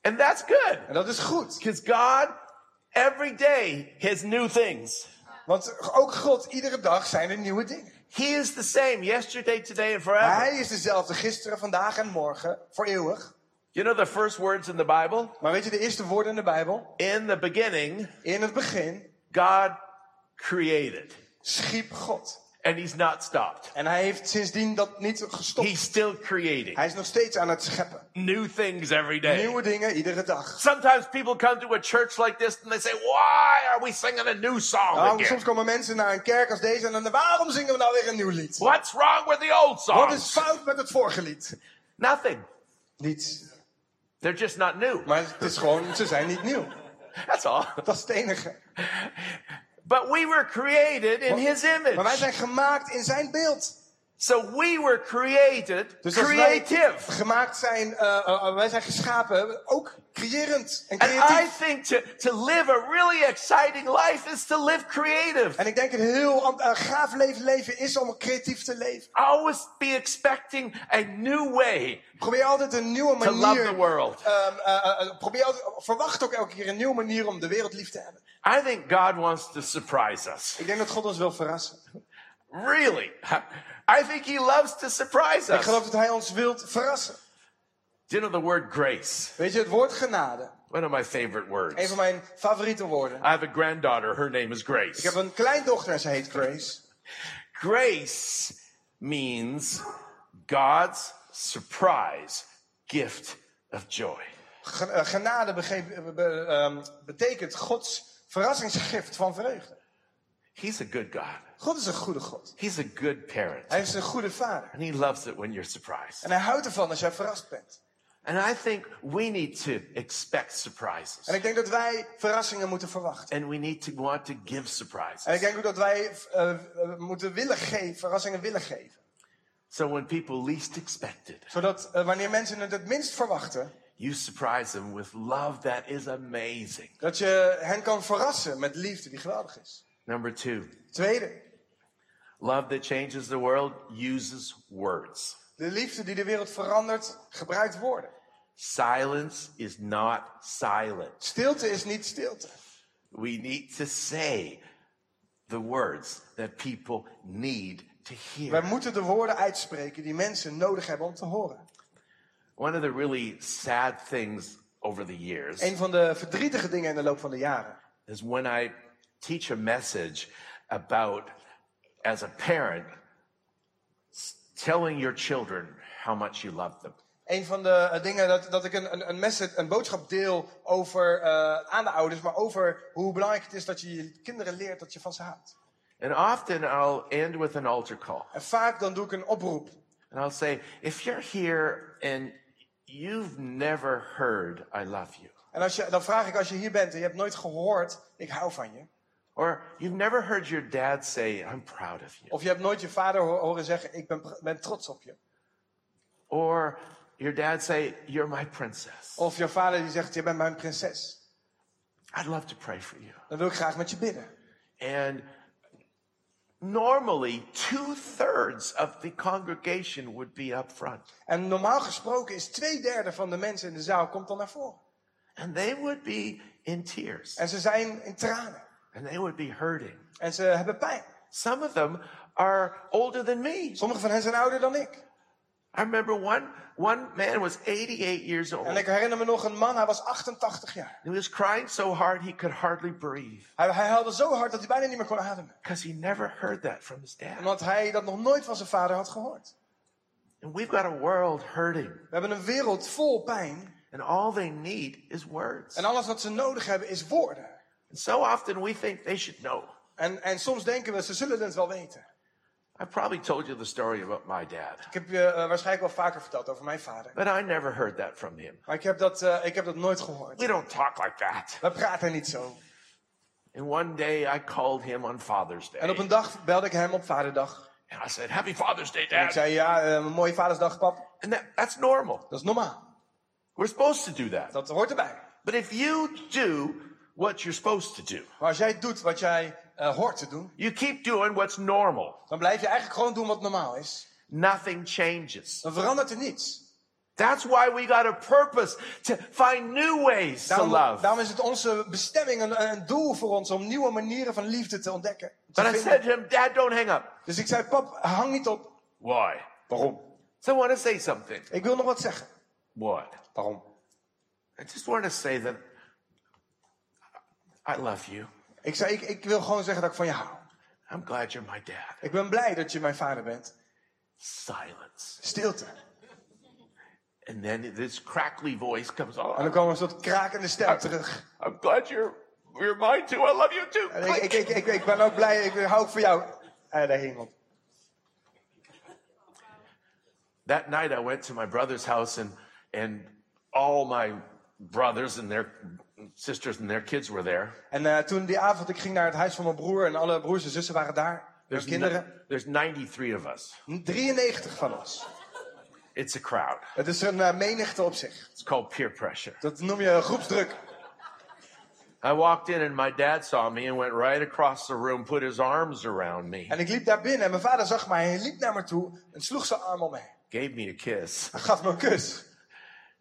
[SPEAKER 1] And that's good
[SPEAKER 2] En dat is goed.
[SPEAKER 1] because God, every day, has new things.
[SPEAKER 2] Want ook God, iedere dag zijn er nieuwe dingen.
[SPEAKER 1] He is the same yesterday, today, and forever.
[SPEAKER 2] Hij is dezelfde gisteren, vandaag en morgen, voor eeuwig.
[SPEAKER 1] You know the first words in the Bible?
[SPEAKER 2] Maar weet je de eerste woorden in de Bijbel?
[SPEAKER 1] In the beginning,
[SPEAKER 2] In het begin
[SPEAKER 1] God created,
[SPEAKER 2] schiep God.
[SPEAKER 1] and He's not stopped.
[SPEAKER 2] En hij heeft sindsdien dat niet gestopt.
[SPEAKER 1] He's still creating
[SPEAKER 2] Hij is nog steeds aan het scheppen.
[SPEAKER 1] new things every day.
[SPEAKER 2] Nieuwe dingen iedere dag.
[SPEAKER 1] Sometimes people come to a church like this and they say, Why are we singing a new song
[SPEAKER 2] Nou,
[SPEAKER 1] again?
[SPEAKER 2] soms komen mensen naar een kerk als deze en dan waarom zingen we nou weer een nieuw lied?
[SPEAKER 1] What's wrong with the old
[SPEAKER 2] Wat is
[SPEAKER 1] songs?
[SPEAKER 2] fout met het vorige lied?
[SPEAKER 1] Nothing.
[SPEAKER 2] Niets.
[SPEAKER 1] They're just not new.
[SPEAKER 2] Maar het is gewoon, ze zijn niet nieuw.
[SPEAKER 1] That's all.
[SPEAKER 2] Dat is het enige.
[SPEAKER 1] But we were created in His image.
[SPEAKER 2] Maar wij zijn gemaakt in zijn beeld.
[SPEAKER 1] So we were created
[SPEAKER 2] Dus als wij
[SPEAKER 1] creative.
[SPEAKER 2] gemaakt zijn, eh, eh, wij zijn geschapen, ook creërend en
[SPEAKER 1] And I
[SPEAKER 2] creatief.
[SPEAKER 1] think to, to live a really exciting life is to live creative.
[SPEAKER 2] En ik denk een heel am- eh, gaaf leven leven is om creatief te leven.
[SPEAKER 1] Always be expecting a new way
[SPEAKER 2] Probeer altijd een nieuwe
[SPEAKER 1] to love
[SPEAKER 2] manier.
[SPEAKER 1] the world.
[SPEAKER 2] ehm, eh, eh, eh, probeer altijd, verwacht ook elke keer een nieuwe manier om de wereld lief te hebben.
[SPEAKER 1] I think God wants to surprise us.
[SPEAKER 2] Ik denk dat God ons wil verrassen.
[SPEAKER 1] Really. *laughs* I think He loves to surprise
[SPEAKER 2] Ik
[SPEAKER 1] us.
[SPEAKER 2] geloof dat Hij ons wilt verrassen.
[SPEAKER 1] Do you know the word grace?
[SPEAKER 2] Weet je, het woord genade,
[SPEAKER 1] One of my favorite words.
[SPEAKER 2] een van mijn favoriete woorden.
[SPEAKER 1] I have a granddaughter. Her name is
[SPEAKER 2] Ik
[SPEAKER 1] Grace.
[SPEAKER 2] heb een kleindochter en ze heet Grace.
[SPEAKER 1] Grace means God's surprise gift of joy.
[SPEAKER 2] Ge- eh, Genade begreep- eh, be- ehm, betekent Gods verrassingsgift van vreugde.
[SPEAKER 1] He's a good God.
[SPEAKER 2] God is een goede God.
[SPEAKER 1] He's a good parent.
[SPEAKER 2] Hij is een goede vader.
[SPEAKER 1] And he loves it when you're surprised.
[SPEAKER 2] En hij houdt ervan als jij verrast bent.
[SPEAKER 1] And I think we need to expect
[SPEAKER 2] En
[SPEAKER 1] surprises.
[SPEAKER 2] ik denk dat wij verrassingen moeten verwachten.
[SPEAKER 1] And we need to want to give
[SPEAKER 2] En ik
[SPEAKER 1] surprises.
[SPEAKER 2] denk ook dat wij eh, eh, moeten willen geven, verrassingen willen geven.
[SPEAKER 1] So when people least expect it,
[SPEAKER 2] Zodat eh, wanneer mensen het het minst verwachten,
[SPEAKER 1] you surprise them with love that is amazing.
[SPEAKER 2] dat je hen kan verrassen met liefde die geweldig is.
[SPEAKER 1] Number two,
[SPEAKER 2] Tweede,
[SPEAKER 1] love that changes the world uses words.
[SPEAKER 2] de liefde die de wereld verandert, gebruikt woorden.
[SPEAKER 1] Silence is not silent.
[SPEAKER 2] Stilte is niet stilte.
[SPEAKER 1] We need to say the words that people need to
[SPEAKER 2] Wij
[SPEAKER 1] hear.
[SPEAKER 2] moeten de woorden uitspreken die mensen nodig hebben om te horen.
[SPEAKER 1] One of the really sad things over the years
[SPEAKER 2] Een van de verdrietige dingen in de loop van de jaren
[SPEAKER 1] is when I teach a message about, as a parent, s- telling your children how much you love them.
[SPEAKER 2] Een van de eh, dingen dat, dat ik een, een, een, message, een boodschap deel over, eh, aan de ouders, maar over hoe belangrijk het is dat je je kinderen leert dat je van ze houdt.
[SPEAKER 1] And often I'll end with an altar call.
[SPEAKER 2] En vaak dan doe ik een oproep.
[SPEAKER 1] And I'll say, if you're here and you've never heard, I love you,
[SPEAKER 2] En als je, dan vraag ik als je hier bent en je hebt nooit gehoord, ik hou van je.
[SPEAKER 1] or you've never heard your dad say, I'm proud of you.
[SPEAKER 2] Of je hebt nooit je vader ho- horen zeggen, ik ben, pr- ben trots op je.
[SPEAKER 1] Or your dad say, You're my princess.
[SPEAKER 2] Of je vader die zegt, je bent mijn prinses.
[SPEAKER 1] I'd love to pray for you.
[SPEAKER 2] Dan wil ik graag met je bidden.
[SPEAKER 1] And normally, two thirds of the congregation would be up front.
[SPEAKER 2] En normaal gesproken is twee derde van de mensen in de zaal komt dan naar voren.
[SPEAKER 1] And they would be in tears.
[SPEAKER 2] En ze zijn in tranen.
[SPEAKER 1] And they would be hurting.
[SPEAKER 2] En ze hebben pijn.
[SPEAKER 1] Some of them are older than me.
[SPEAKER 2] Sommigen van hen zijn ouder dan ik.
[SPEAKER 1] I remember one, one man was 88 years old.
[SPEAKER 2] En ik herinner me nog een man, hij was 88 jaar.
[SPEAKER 1] He was crying so hard he could hardly breathe
[SPEAKER 2] Hij, hij huilde zo hard dat hij bijna niet meer kon ademen.
[SPEAKER 1] because he never heard that from his dad.
[SPEAKER 2] Omdat hij dat nog nooit van zijn vader had gehoord.
[SPEAKER 1] And we've got a world hurting,
[SPEAKER 2] We hebben een wereld vol pijn.
[SPEAKER 1] and all they need is words.
[SPEAKER 2] En alles wat ze nodig hebben is woorden.
[SPEAKER 1] So often we think they should know.
[SPEAKER 2] En, en soms denken we, ze zullen het wel weten.
[SPEAKER 1] I probably told you the story about my dad,
[SPEAKER 2] Ik heb je eh, waarschijnlijk wel vaker verteld over mijn vader.
[SPEAKER 1] but I never heard that from him.
[SPEAKER 2] Maar ik heb dat, eh, ik heb dat nooit gehoord.
[SPEAKER 1] We don't talk like that.
[SPEAKER 2] We praten niet zo.
[SPEAKER 1] And one day I called him on Father's Day.
[SPEAKER 2] En op een dag belde ik hem op vaderdag.
[SPEAKER 1] And I said, Happy Father's Day,
[SPEAKER 2] En ik
[SPEAKER 1] Dad.
[SPEAKER 2] zei, ja, eh, een mooie vadersdag, pap.
[SPEAKER 1] And that, that's normal.
[SPEAKER 2] Dat is normaal.
[SPEAKER 1] We're supposed to do that.
[SPEAKER 2] Dat hoort erbij.
[SPEAKER 1] But if you do what you're supposed to do,
[SPEAKER 2] Maar als jij doet wat jij eh, hoort te doen,
[SPEAKER 1] you keep doing what's normal.
[SPEAKER 2] dan blijf je eigenlijk gewoon doen wat normaal is.
[SPEAKER 1] Nothing changes.
[SPEAKER 2] Dan verandert er niets.
[SPEAKER 1] That's why we got a purpose to find new ways to
[SPEAKER 2] Daarom,
[SPEAKER 1] love.
[SPEAKER 2] daarom is het onze bestemming, een, een doel voor ons om nieuwe manieren van liefde te ontdekken. te
[SPEAKER 1] But I
[SPEAKER 2] vinden.
[SPEAKER 1] said to him, Dad, don't hang up.
[SPEAKER 2] dus ik zei, pap, hang niet op.
[SPEAKER 1] Why?
[SPEAKER 2] Waarom?
[SPEAKER 1] So I want to say something.
[SPEAKER 2] Ik wil nog wat zeggen.
[SPEAKER 1] What?
[SPEAKER 2] Waarom?
[SPEAKER 1] I just want to say that I love you.
[SPEAKER 2] Ik zei, ik, ik wil gewoon zeggen dat ik van je hou.
[SPEAKER 1] I'm glad you're my dad.
[SPEAKER 2] Ik ben blij dat je mijn vader bent.
[SPEAKER 1] Silence.
[SPEAKER 2] Stilte.
[SPEAKER 1] And then this crackly voice comes
[SPEAKER 2] En dan
[SPEAKER 1] on.
[SPEAKER 2] kwam een soort krakende stem terug.
[SPEAKER 1] I'm glad you're you're mine too. I love you too.
[SPEAKER 2] En ik, ik, ik, ik, ik ben ook blij, ik hou ook van jou. En daar hing op.
[SPEAKER 1] That night I went to my brother's house and and all my brothers and their sisters and their kids were there.
[SPEAKER 2] En eh, toen die avond, ik ging naar het huis van mijn broer en alle broers en zussen waren daar.
[SPEAKER 1] There's,
[SPEAKER 2] Mijn kinderen.
[SPEAKER 1] ni- there's 93 of us.
[SPEAKER 2] 93 van ons.
[SPEAKER 1] It's a crowd.
[SPEAKER 2] Het is een eh, menigte op zich.
[SPEAKER 1] It's called peer pressure.
[SPEAKER 2] Dat noem je groepsdruk.
[SPEAKER 1] I walked in and my dad saw me and went right across the room, put his arms around me,
[SPEAKER 2] En ik liep daar binnen en mijn vader zag mij. Hij liep naar me toe en sloeg zijn arm om me heen.
[SPEAKER 1] gave me a kiss,
[SPEAKER 2] Hij gaf me een kus.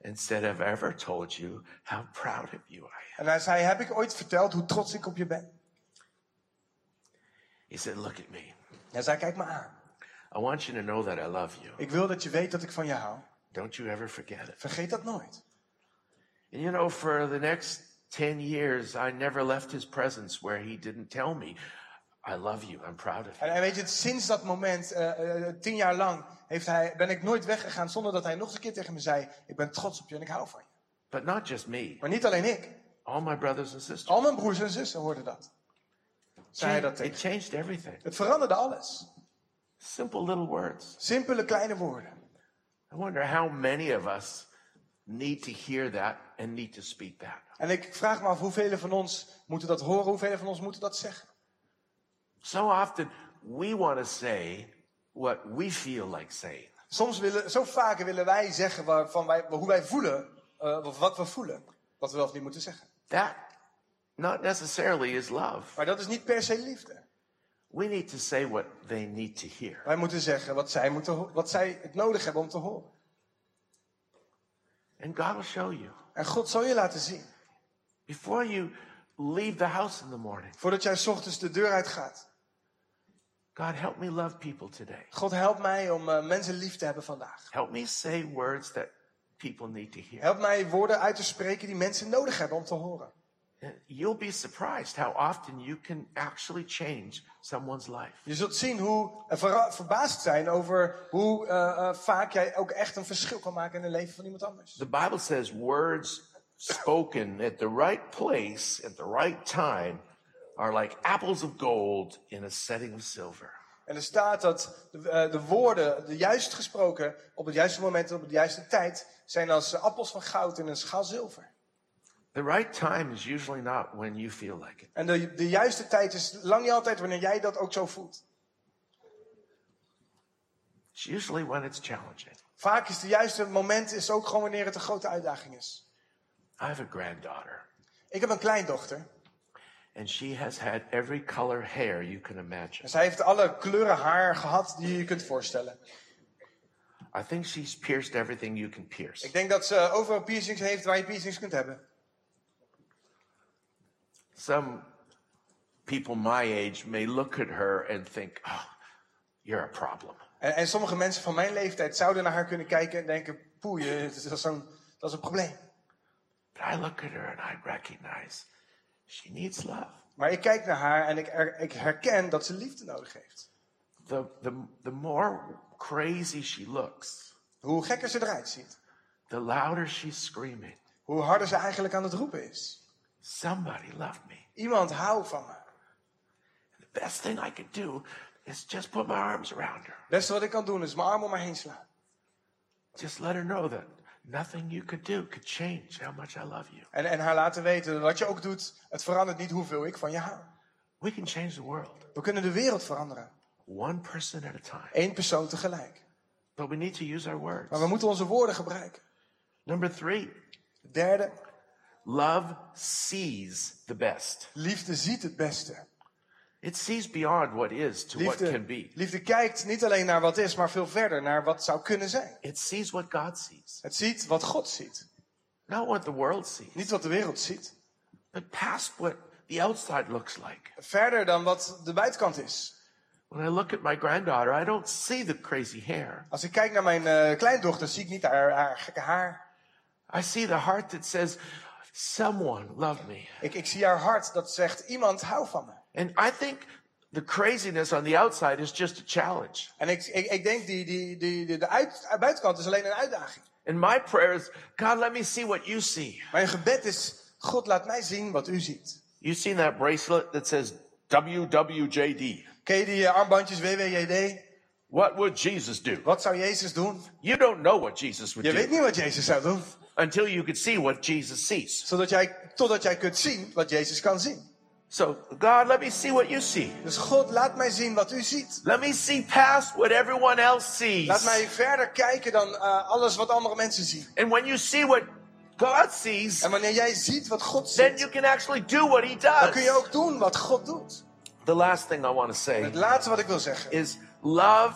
[SPEAKER 1] and said, I've ever told you how proud of you I am.
[SPEAKER 2] En hij zei, heb ik ooit verteld hoe trots ik op je ben?
[SPEAKER 1] He said, Look at me.
[SPEAKER 2] Hij zei, kijk me aan.
[SPEAKER 1] I want you to know that I love you.
[SPEAKER 2] Ik wil dat je weet dat ik van je hou.
[SPEAKER 1] Don't you ever forget it.
[SPEAKER 2] Vergeet dat nooit.
[SPEAKER 1] And you know, for the next 10 years, I never left his presence where he didn't tell me, I love you, I'm proud of you.
[SPEAKER 2] En, en weet je, sinds dat moment, eh, eh, tien jaar lang, heeft hij, ben ik nooit weggegaan zonder dat hij nog eens een keer tegen me zei: Ik ben trots op je en ik hou van je.
[SPEAKER 1] But not just me,
[SPEAKER 2] Maar niet alleen ik.
[SPEAKER 1] all my brothers and sisters.
[SPEAKER 2] Al mijn broers en zussen hoorden dat. Zei hij dat
[SPEAKER 1] It
[SPEAKER 2] tegen.
[SPEAKER 1] changed everything.
[SPEAKER 2] Het veranderde alles.
[SPEAKER 1] Simple little words.
[SPEAKER 2] Simpele kleine woorden.
[SPEAKER 1] I wonder how many of us need to hear that and need to speak that.
[SPEAKER 2] En ik vraag me af hoeveel van ons moeten dat horen, hoeveel van ons moeten dat zeggen.
[SPEAKER 1] So often, we want to say what we feel like saying.
[SPEAKER 2] Soms willen, zo vaker willen wij zeggen waarvan wij, hoe wij voelen, eh, of wat we voelen, wat we wel of niet moeten zeggen.
[SPEAKER 1] That, not necessarily, is love.
[SPEAKER 2] Maar dat is niet per se liefde.
[SPEAKER 1] We need to say what they need to hear.
[SPEAKER 2] Wij moeten zeggen wat zij, moeten, ho- wat zij het nodig hebben om te horen.
[SPEAKER 1] And God will show you.
[SPEAKER 2] En God zal je laten zien.
[SPEAKER 1] Before you leave the house in the morning,
[SPEAKER 2] Voordat jij 's ochtends de deur uitgaat.
[SPEAKER 1] God, help me love people today.
[SPEAKER 2] God help mij om eh, mensen lief te hebben vandaag.
[SPEAKER 1] Help me say words that people need to hear.
[SPEAKER 2] Help mij woorden uit te spreken die mensen nodig hebben om te horen.
[SPEAKER 1] You'll be surprised how often you can actually change someone's life.
[SPEAKER 2] Je zult zien hoe en verra- verbaasd zijn over hoe eh, eh, vaak jij ook echt een verschil kan maken in het leven van iemand anders.
[SPEAKER 1] The Bible says words spoken at the right place at the right time are like apples of gold in a setting of silver.
[SPEAKER 2] En er staat dat de, eh, de woorden, de juist gesproken, op het juiste moment en op de juiste tijd, zijn als eh, appels van goud in een schaal zilver.
[SPEAKER 1] The right time is usually not when you feel like it.
[SPEAKER 2] En de, de juiste tijd is lang niet altijd wanneer jij dat ook zo voelt.
[SPEAKER 1] It's usually when it's challenging.
[SPEAKER 2] Vaak is de juiste moment is ook gewoon wanneer het een grote uitdaging is.
[SPEAKER 1] I have a granddaughter,
[SPEAKER 2] Ik heb een kleindochter.
[SPEAKER 1] and she has had every color hair you can imagine.
[SPEAKER 2] En zij heeft alle kleuren haar gehad die je je kunt voorstellen.
[SPEAKER 1] I think she's pierced everything you can pierce.
[SPEAKER 2] Ik denk dat ze overal piercings heeft waar je piercings kunt hebben.
[SPEAKER 1] Some people my age may look at her and think, oh, you're a problem.
[SPEAKER 2] En, en sommige mensen van mijn leeftijd zouden naar haar kunnen kijken en denken... Poeh, je- dat is, zo'n- dat is een probleem.
[SPEAKER 1] But I look at her and I recognize she needs love.
[SPEAKER 2] Maar ik kijk naar haar en ik, er- ik herken dat ze liefde nodig heeft.
[SPEAKER 1] The, the, the more crazy she looks,
[SPEAKER 2] Hoe gekker ze eruit ziet.
[SPEAKER 1] the louder she's screaming,
[SPEAKER 2] Hoe harder ze eigenlijk aan het roepen is.
[SPEAKER 1] Somebody love me.
[SPEAKER 2] Iemand hou van me.
[SPEAKER 1] The best thing I could do is just put my arms around her.
[SPEAKER 2] Het beste wat ik kan doen is mijn arm om haar heen slaan.
[SPEAKER 1] Just let her know that nothing you could do could change how much I love you.
[SPEAKER 2] En, en haar laten weten, wat je ook doet, het verandert niet hoeveel ik van je hou.
[SPEAKER 1] We can change the world
[SPEAKER 2] We kunnen de wereld veranderen.
[SPEAKER 1] one person at a time.
[SPEAKER 2] Eén persoon tegelijk.
[SPEAKER 1] But we need to use our words.
[SPEAKER 2] Maar we moeten onze woorden gebruiken.
[SPEAKER 1] Number three,
[SPEAKER 2] Derde,
[SPEAKER 1] love sees the best.
[SPEAKER 2] liefde ziet het beste.
[SPEAKER 1] It sees beyond what is to what
[SPEAKER 2] Liefde,
[SPEAKER 1] can be.
[SPEAKER 2] liefde kijkt niet alleen naar wat is, maar veel verder naar wat zou kunnen zijn.
[SPEAKER 1] It sees what God sees,
[SPEAKER 2] Het ziet wat God ziet.
[SPEAKER 1] not what the world sees,
[SPEAKER 2] Niet wat de wereld ziet.
[SPEAKER 1] but past what the outside looks like.
[SPEAKER 2] Verder dan wat de buitenkant is.
[SPEAKER 1] When I look at my granddaughter, I don't see the crazy hair.
[SPEAKER 2] Als ik kijk naar mijn eh, kleindochter, zie ik niet haar, haar gekke haar.
[SPEAKER 1] I see the heart that says, Someone love me.
[SPEAKER 2] Ik, ik zie haar hart dat zegt, iemand hou van me.
[SPEAKER 1] And I think the craziness on the outside is just a challenge.
[SPEAKER 2] En ik, ik, ik denk, die, die, die, die- de uit- buitenkant is alleen een uitdaging.
[SPEAKER 1] And my prayer is, God, let me see what you see.
[SPEAKER 2] Mijn gebed is, God laat mij zien wat u ziet.
[SPEAKER 1] You've seen that bracelet that says WWJD.
[SPEAKER 2] Ken je die eh, armbandjes WWJD?
[SPEAKER 1] What would Jesus do?
[SPEAKER 2] Wat zou Jezus doen?
[SPEAKER 1] You don't know what Jesus would
[SPEAKER 2] Je weet
[SPEAKER 1] do
[SPEAKER 2] niet wat Jezus zou doen.
[SPEAKER 1] until you could see what Jesus sees.
[SPEAKER 2] Zodat jij, totdat jij kunt zien wat Jezus kan zien.
[SPEAKER 1] So, God, let me see what you see.
[SPEAKER 2] Dus God, laat mij zien wat u ziet.
[SPEAKER 1] Let me see past what everyone else sees.
[SPEAKER 2] Laat mij verder kijken dan eh, alles wat andere mensen zien.
[SPEAKER 1] And when you see what God sees,
[SPEAKER 2] En wanneer jij ziet wat God
[SPEAKER 1] then
[SPEAKER 2] ziet,
[SPEAKER 1] you can actually do what He
[SPEAKER 2] dan
[SPEAKER 1] does.
[SPEAKER 2] kun je ook doen wat God doet.
[SPEAKER 1] The last thing I want to say
[SPEAKER 2] Het laatste wat ik wil zeggen.
[SPEAKER 1] is love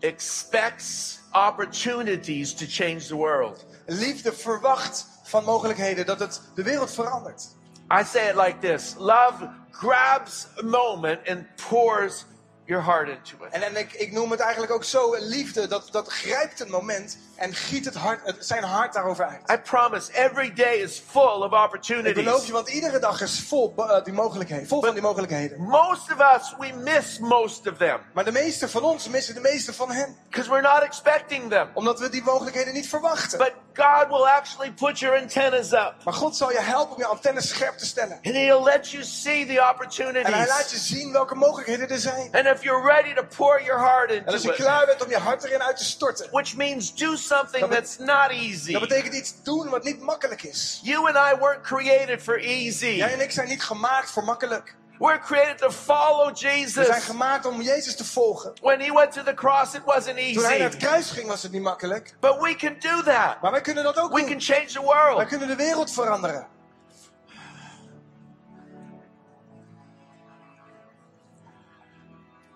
[SPEAKER 1] expects opportunities to change the world.
[SPEAKER 2] Liefde verwacht van mogelijkheden dat het de wereld verandert.
[SPEAKER 1] I say it like this love grabs a moment and pours your heart into it.
[SPEAKER 2] En, en ik, ik noem het eigenlijk ook zo liefde. Dat, dat grijpt een moment en giet het hart, het, zijn hart daarover uit.
[SPEAKER 1] I promise every day is full of
[SPEAKER 2] Ik beloof je,
[SPEAKER 1] opportunities.
[SPEAKER 2] want iedere dag is vol, bo- eh, die mogelijkheden, vol van die mogelijkheden.
[SPEAKER 1] Most of us, we miss most of them
[SPEAKER 2] Maar de meeste van ons missen de meeste van hen.
[SPEAKER 1] because we're not expecting them.
[SPEAKER 2] Omdat we die mogelijkheden niet verwachten.
[SPEAKER 1] But God will actually put your antennas up
[SPEAKER 2] Maar God zal je helpen om je antennes scherp te stellen.
[SPEAKER 1] and He'll let you see the
[SPEAKER 2] En hij laat
[SPEAKER 1] opportunities.
[SPEAKER 2] je zien welke mogelijkheden er zijn.
[SPEAKER 1] And if you're ready to pour your heart
[SPEAKER 2] En als je
[SPEAKER 1] into it,
[SPEAKER 2] klaar bent om je hart erin uit te storten.
[SPEAKER 1] which means do something
[SPEAKER 2] Dat bet-
[SPEAKER 1] that's not easy.
[SPEAKER 2] Dat betekent iets doen wat niet makkelijk is.
[SPEAKER 1] You and I weren't created for easy.
[SPEAKER 2] Jij en ik zijn niet gemaakt voor makkelijk.
[SPEAKER 1] We're created to follow
[SPEAKER 2] We zijn
[SPEAKER 1] Jesus.
[SPEAKER 2] gemaakt om Jezus te volgen.
[SPEAKER 1] When he went to the cross, it wasn't
[SPEAKER 2] Toen hij naar
[SPEAKER 1] easy.
[SPEAKER 2] het kruis ging was het niet makkelijk.
[SPEAKER 1] But we can do that.
[SPEAKER 2] Maar wij kunnen dat ook
[SPEAKER 1] We can
[SPEAKER 2] doen.
[SPEAKER 1] change the
[SPEAKER 2] Wij
[SPEAKER 1] world.
[SPEAKER 2] kunnen de wereld veranderen.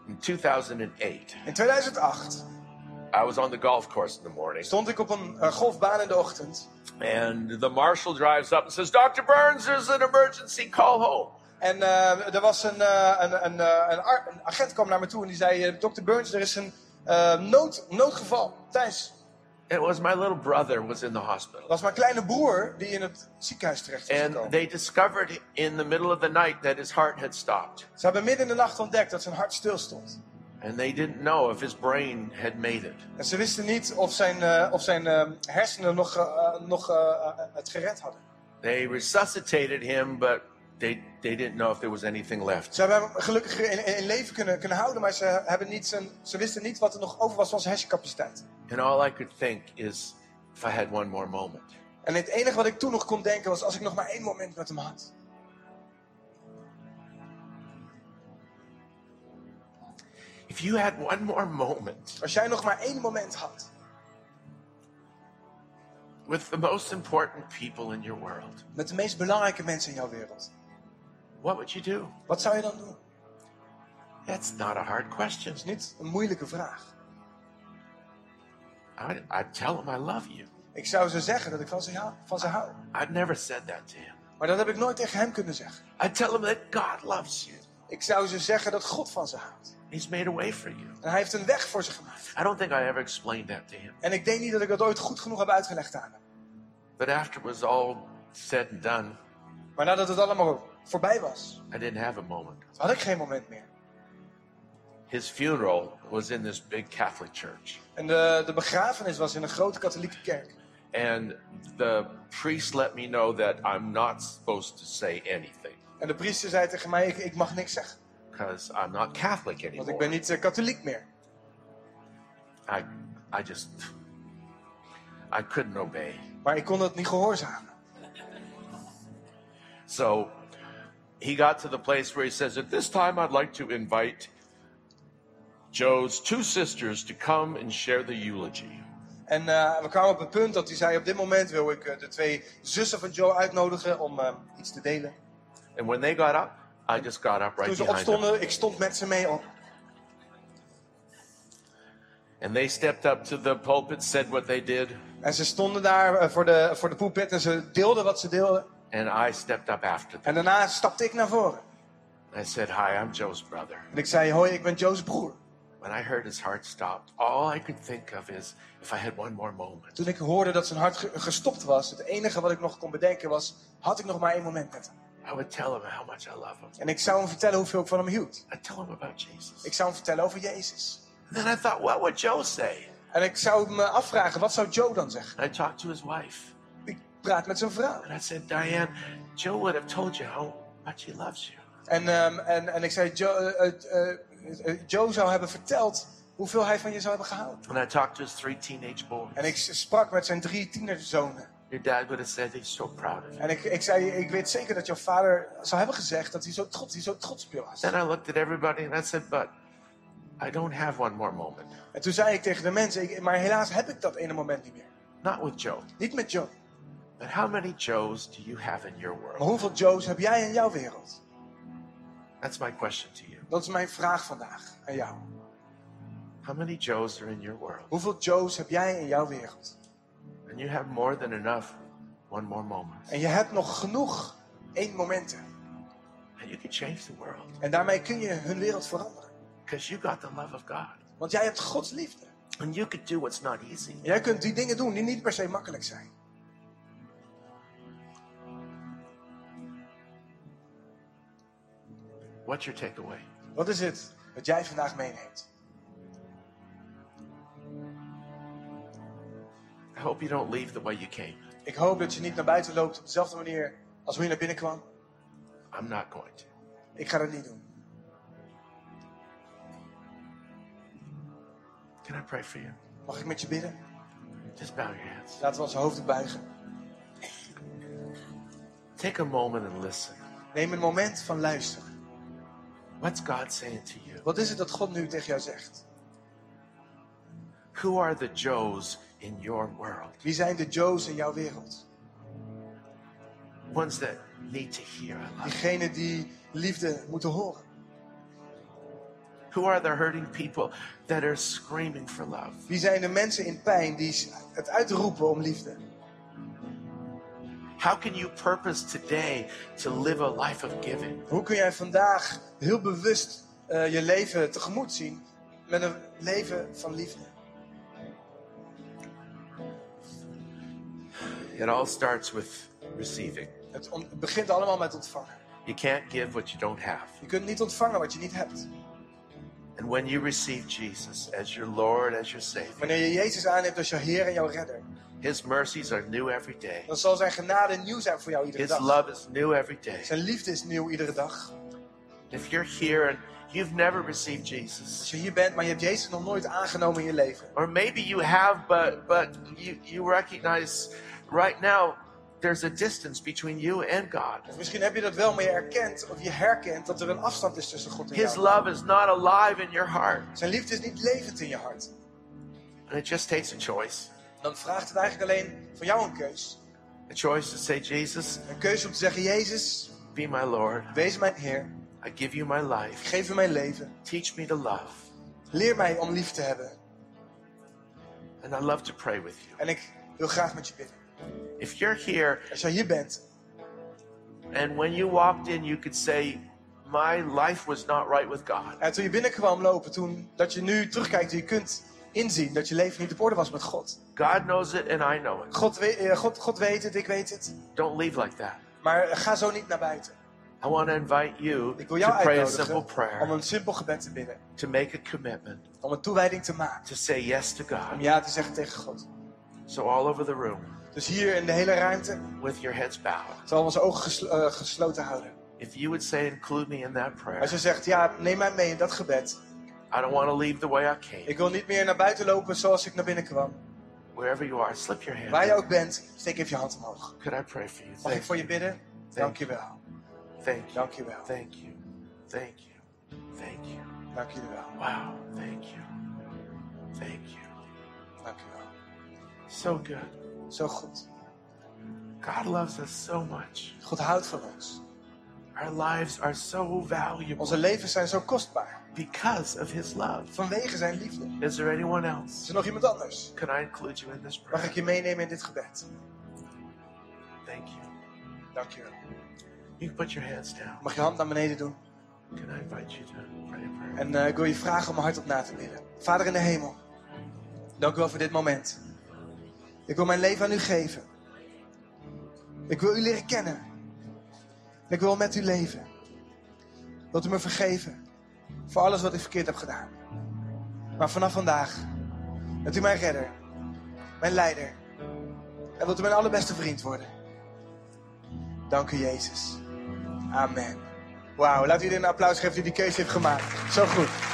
[SPEAKER 1] In 2008,
[SPEAKER 2] In 2008
[SPEAKER 1] I was on the golf course in the morning,
[SPEAKER 2] stond ik op een eh, golfbaan in de ochtend.
[SPEAKER 1] and the marshal drives up and says, Dr. Burns, there's an emergency, call home.
[SPEAKER 2] En eh, er was een, eh, een, een, eh, een, ar- een agent kwam naar me toe en die zei... eh, Dr. Burns, er is een eh, nood, noodgeval thuis.
[SPEAKER 1] It was my little brother was in the hospital.
[SPEAKER 2] was mijn kleine broer die in het ziekenhuis terecht was
[SPEAKER 1] And
[SPEAKER 2] gekomen.
[SPEAKER 1] they discovered in the middle of the night that his heart had stopped.
[SPEAKER 2] Ze hebben midden in de nacht ontdekt dat zijn hart stilstond.
[SPEAKER 1] And they didn't know if his brain had made it.
[SPEAKER 2] En ze wisten niet of zijn, eh, of zijn eh, hersenen nog, eh, eh, nog eh, eh, het gered hadden.
[SPEAKER 1] They resuscitated him, but they, they didn't know if there was anything left.
[SPEAKER 2] Ze hebben hem gelukkig in, in- in leven kunnen, kunnen houden, maar ze, hebben niet zijn, ze wisten niet wat er nog over was van zijn hersencapaciteit.
[SPEAKER 1] And all I could think is if I had one more moment.
[SPEAKER 2] En het enige wat ik toen nog kon denken was als ik nog maar één moment met hem had.
[SPEAKER 1] If you had one more moment
[SPEAKER 2] Als jij nog maar één moment had
[SPEAKER 1] with the most important people in your world,
[SPEAKER 2] met de meest belangrijke mensen in jouw wereld,
[SPEAKER 1] what would you do?
[SPEAKER 2] wat zou je dan doen?
[SPEAKER 1] That's not a hard question.
[SPEAKER 2] Dat is niet een moeilijke vraag.
[SPEAKER 1] I, I tell them I love you.
[SPEAKER 2] Ik zou ze zeggen dat ik van ze, hou- van ze hou.
[SPEAKER 1] I've never said that to him.
[SPEAKER 2] Maar dat heb ik nooit tegen hem kunnen zeggen.
[SPEAKER 1] I tell them that God loves you.
[SPEAKER 2] Ik zou ze zeggen dat God van ze houdt.
[SPEAKER 1] He's made a way for you.
[SPEAKER 2] En hij heeft een weg voor ze gemaakt.
[SPEAKER 1] I don't think I ever explained that to him.
[SPEAKER 2] En ik denk niet dat ik dat ooit goed genoeg heb uitgelegd aan hem.
[SPEAKER 1] But after it was all said and done,
[SPEAKER 2] Maar nadat het allemaal voorbij was,
[SPEAKER 1] I didn't have a moment.
[SPEAKER 2] had ik geen moment meer.
[SPEAKER 1] His funeral was in this big Catholic church.
[SPEAKER 2] En de, de begrafenis was in een grote katholieke kerk.
[SPEAKER 1] And the priest let me know that I'm not supposed to say anything
[SPEAKER 2] En de priester zei tegen mij, ik, ik mag niks zeggen.
[SPEAKER 1] because I'm not Catholic
[SPEAKER 2] Want
[SPEAKER 1] anymore.
[SPEAKER 2] ik ben niet eh, katholiek meer.
[SPEAKER 1] I, I just, I couldn't obey.
[SPEAKER 2] Maar ik kon dat niet gehoorzamen.
[SPEAKER 1] So he got to the place where he says, At this time, I'd like to invite Joe's two sisters to come and share the eulogy.
[SPEAKER 2] En eh, we kwamen op het punt dat hij zei, op dit moment wil ik eh, de twee zussen van Joe uitnodigen om eh, iets te delen.
[SPEAKER 1] And when they got up, I just got up right
[SPEAKER 2] Toen ze
[SPEAKER 1] behind them.
[SPEAKER 2] opstonden, ik stond met ze mee op.
[SPEAKER 1] And they stepped up to the pulpit, said what they did,
[SPEAKER 2] En ze stonden daar eh, voor de, voor de pulpit en ze deelden wat ze deelden.
[SPEAKER 1] and I stepped up after them.
[SPEAKER 2] En daarna stapte ik naar voren.
[SPEAKER 1] I said, Hi, I'm Joe's brother.
[SPEAKER 2] En ik zei, hoi, ik ben Joe's broer.
[SPEAKER 1] When I heard his heart stopped, all I could think of is if I had one more moment.
[SPEAKER 2] Toen ik hoorde dat zijn hart ge- gestopt was, het enige wat ik nog kon bedenken was, had ik nog maar één moment met hem.
[SPEAKER 1] I would tell him how much I love him.
[SPEAKER 2] En ik zou hem vertellen hoeveel ik van hem hield.
[SPEAKER 1] I'd tell him about Jesus.
[SPEAKER 2] Ik zou hem vertellen over Jezus.
[SPEAKER 1] And then I thought, what would Joe say?
[SPEAKER 2] En ik zou me afvragen, wat zou Joe dan zeggen?
[SPEAKER 1] And I talked to his wife.
[SPEAKER 2] Ik praat met zijn vrouw.
[SPEAKER 1] And I said, Diane, Joe would have told you how much he loves you.
[SPEAKER 2] En, ehm, en, en ik zei, Joe, eh, eh, eh, eh, Joe zou hebben verteld hoeveel hij van je zou hebben gehouden.
[SPEAKER 1] And I talked to his three teenage boys.
[SPEAKER 2] En ik s- sprak met zijn drie tienerzonen.
[SPEAKER 1] Your dad would have said he's so proud of you.
[SPEAKER 2] En ik, ik zei, ik weet zeker dat jouw vader zou hebben gezegd dat hij zo trots, hij zo trots op je was.
[SPEAKER 1] Then I looked at everybody and I said, but I don't have one more moment.
[SPEAKER 2] En toen zei ik tegen de mensen, ik- maar helaas heb ik dat ene moment niet meer.
[SPEAKER 1] Not with Joe.
[SPEAKER 2] Niet met Joe.
[SPEAKER 1] But how many Joes do you have in your
[SPEAKER 2] Maar
[SPEAKER 1] world?
[SPEAKER 2] hoeveel Joe's heb jij in jouw wereld?
[SPEAKER 1] That's my question to you.
[SPEAKER 2] Dat is mijn vraag vandaag aan jou.
[SPEAKER 1] How many Joes are in your world?
[SPEAKER 2] Hoeveel Joe's heb jij in jouw wereld?
[SPEAKER 1] And you have more than enough one more moment.
[SPEAKER 2] En je hebt nog genoeg één momenten.
[SPEAKER 1] And you can change the world
[SPEAKER 2] En daarmee kun je hun wereld veranderen.
[SPEAKER 1] because you got the love of God.
[SPEAKER 2] Want jij hebt Gods liefde.
[SPEAKER 1] And you could do what's not easy.
[SPEAKER 2] En jij kunt die dingen doen die niet per se makkelijk zijn.
[SPEAKER 1] What's your takeaway?
[SPEAKER 2] Wat is het wat jij vandaag meeneemt?
[SPEAKER 1] I hope you don't leave the way you came.
[SPEAKER 2] Ik hoop dat je niet naar buiten loopt op dezelfde manier als hoe je naar binnen kwam.
[SPEAKER 1] I'm not going to.
[SPEAKER 2] Ik ga dat niet doen.
[SPEAKER 1] Can I pray for you?
[SPEAKER 2] Mag ik met je bidden?
[SPEAKER 1] Just bow your heads.
[SPEAKER 2] Laten we onze hoofden buigen.
[SPEAKER 1] Take a moment and listen.
[SPEAKER 2] Neem een moment van luisteren.
[SPEAKER 1] What's God saying to you?
[SPEAKER 2] Wat is het dat God nu tegen jou zegt?
[SPEAKER 1] Who are the Joes in your world?
[SPEAKER 2] Wie zijn de Joe's in jouw wereld?
[SPEAKER 1] Ones that need to hear. I love
[SPEAKER 2] Diegenen die liefde moeten horen.
[SPEAKER 1] you. Who are the hurting people that are screaming for love?
[SPEAKER 2] Wie zijn de mensen in pijn die het uitroepen om liefde?
[SPEAKER 1] How can you purpose today to live a life of giving?
[SPEAKER 2] Hoe kun jij vandaag heel bewust eh, je leven tegemoet zien met een leven van liefde?
[SPEAKER 1] It all starts with receiving.
[SPEAKER 2] Het on- het begint allemaal met ontvangen.
[SPEAKER 1] You can't give what you don't have.
[SPEAKER 2] Je kunt niet ontvangen wat je niet hebt.
[SPEAKER 1] And when you receive Jesus as your Lord, as your Savior,
[SPEAKER 2] Wanneer je Jezus aanneemt als jouw Heer en jouw Redder,
[SPEAKER 1] His mercies are new every day.
[SPEAKER 2] dan zal zijn genade nieuw zijn voor jou iedere
[SPEAKER 1] His
[SPEAKER 2] dag.
[SPEAKER 1] love is new every day.
[SPEAKER 2] Zijn liefde is nieuw iedere dag.
[SPEAKER 1] If you're here and you've never received
[SPEAKER 2] Als
[SPEAKER 1] Jesus,
[SPEAKER 2] je hier bent, maar je hebt Jezus nog nooit aangenomen in je leven.
[SPEAKER 1] or maybe you have, but but you, you recognize right now there's a distance between you and God.
[SPEAKER 2] Of misschien heb je dat wel, maar je erkent of je herkent dat er een afstand is tussen God en
[SPEAKER 1] His
[SPEAKER 2] jou.
[SPEAKER 1] love is not alive in your heart.
[SPEAKER 2] Zijn liefde is niet levend in je hart.
[SPEAKER 1] And it just takes a choice.
[SPEAKER 2] Dan vraagt het eigenlijk alleen van jou een keus.
[SPEAKER 1] A choice to say, Jesus,
[SPEAKER 2] Een keus om te zeggen, Jezus,
[SPEAKER 1] be my Lord.
[SPEAKER 2] wees mijn Heer.
[SPEAKER 1] I give you my life.
[SPEAKER 2] Geef me mijn leven.
[SPEAKER 1] Teach me to love.
[SPEAKER 2] Leer mij om lief te hebben.
[SPEAKER 1] And I love to pray with you.
[SPEAKER 2] En ik wil graag met je bidden.
[SPEAKER 1] If you're here
[SPEAKER 2] Als jij hier bent
[SPEAKER 1] And when you walked in, you could say, My life was not right with God.
[SPEAKER 2] En eh, toen je binnenkwam lopen, toen dat je nu terugkijkt, je kunt inzien dat je leven niet op orde was met God.
[SPEAKER 1] God knows it and I know it.
[SPEAKER 2] God, we- eh, God, God weet het, ik weet het.
[SPEAKER 1] Don't leave like that.
[SPEAKER 2] Maar eh, ga zo niet naar buiten.
[SPEAKER 1] I want to invite you
[SPEAKER 2] Ik wil jou
[SPEAKER 1] to pray a simple
[SPEAKER 2] uitnodigen om
[SPEAKER 1] prayer,
[SPEAKER 2] een simpel gebed te bidden.
[SPEAKER 1] to make a commitment,
[SPEAKER 2] Om een toewijding te maken.
[SPEAKER 1] to say yes to
[SPEAKER 2] Om
[SPEAKER 1] God.
[SPEAKER 2] ja te zeggen tegen God.
[SPEAKER 1] So, all over the room,
[SPEAKER 2] Dus hier in de hele ruimte,
[SPEAKER 1] with your heads bowed,
[SPEAKER 2] terwijl we onze ogen geslo- eh, gesloten houden.
[SPEAKER 1] if you would say, Include me in that prayer,
[SPEAKER 2] Als je zegt, ja, neem mij mee in dat gebed.
[SPEAKER 1] I don't want to leave the way I came.
[SPEAKER 2] Ik wil niet meer naar buiten lopen zoals ik naar binnen kwam.
[SPEAKER 1] Wherever you are, slip your hand.
[SPEAKER 2] Waar je
[SPEAKER 1] up.
[SPEAKER 2] ook bent, steek even je hand omhoog.
[SPEAKER 1] Could I pray for you?
[SPEAKER 2] Mag ik
[SPEAKER 1] Thank
[SPEAKER 2] voor je
[SPEAKER 1] you.
[SPEAKER 2] bidden? Dank je wel.
[SPEAKER 1] Thank you.
[SPEAKER 2] Dank je wel.
[SPEAKER 1] Thank you. Thank you. Thank you.
[SPEAKER 2] Dank jullie wel.
[SPEAKER 1] Wow. Thank you. Thank you.
[SPEAKER 2] Dank je wel.
[SPEAKER 1] So good.
[SPEAKER 2] Zo goed.
[SPEAKER 1] God loves us so much.
[SPEAKER 2] God houdt van ons.
[SPEAKER 1] Our lives are so valuable
[SPEAKER 2] Onze levens zijn zo kostbaar.
[SPEAKER 1] because of His love.
[SPEAKER 2] Vanwege zijn liefde.
[SPEAKER 1] Is there anyone
[SPEAKER 2] Is
[SPEAKER 1] else?
[SPEAKER 2] er nog iemand anders?
[SPEAKER 1] Can I include you in this
[SPEAKER 2] Mag
[SPEAKER 1] prayer?
[SPEAKER 2] ik je meenemen in dit gebed?
[SPEAKER 1] Thank you.
[SPEAKER 2] Dankjewel.
[SPEAKER 1] You can put your hands down.
[SPEAKER 2] Mag je hand naar beneden doen?
[SPEAKER 1] Can I invite you to pray a prayer?
[SPEAKER 2] En eh, ik wil je vragen om er hardop na te bidden. Vader in de hemel, dank u wel voor dit moment. Ik wil mijn leven aan u geven. Ik wil u leren kennen. Ik wil met u leven. Wilt u me vergeven voor alles wat ik verkeerd heb gedaan. Maar vanaf vandaag bent u mijn redder, mijn leider. En wilt u mijn allerbeste vriend worden. Dank u Jezus. Amen. Wauw, laat iedereen een applaus geven die die keuze heeft gemaakt. Zo goed.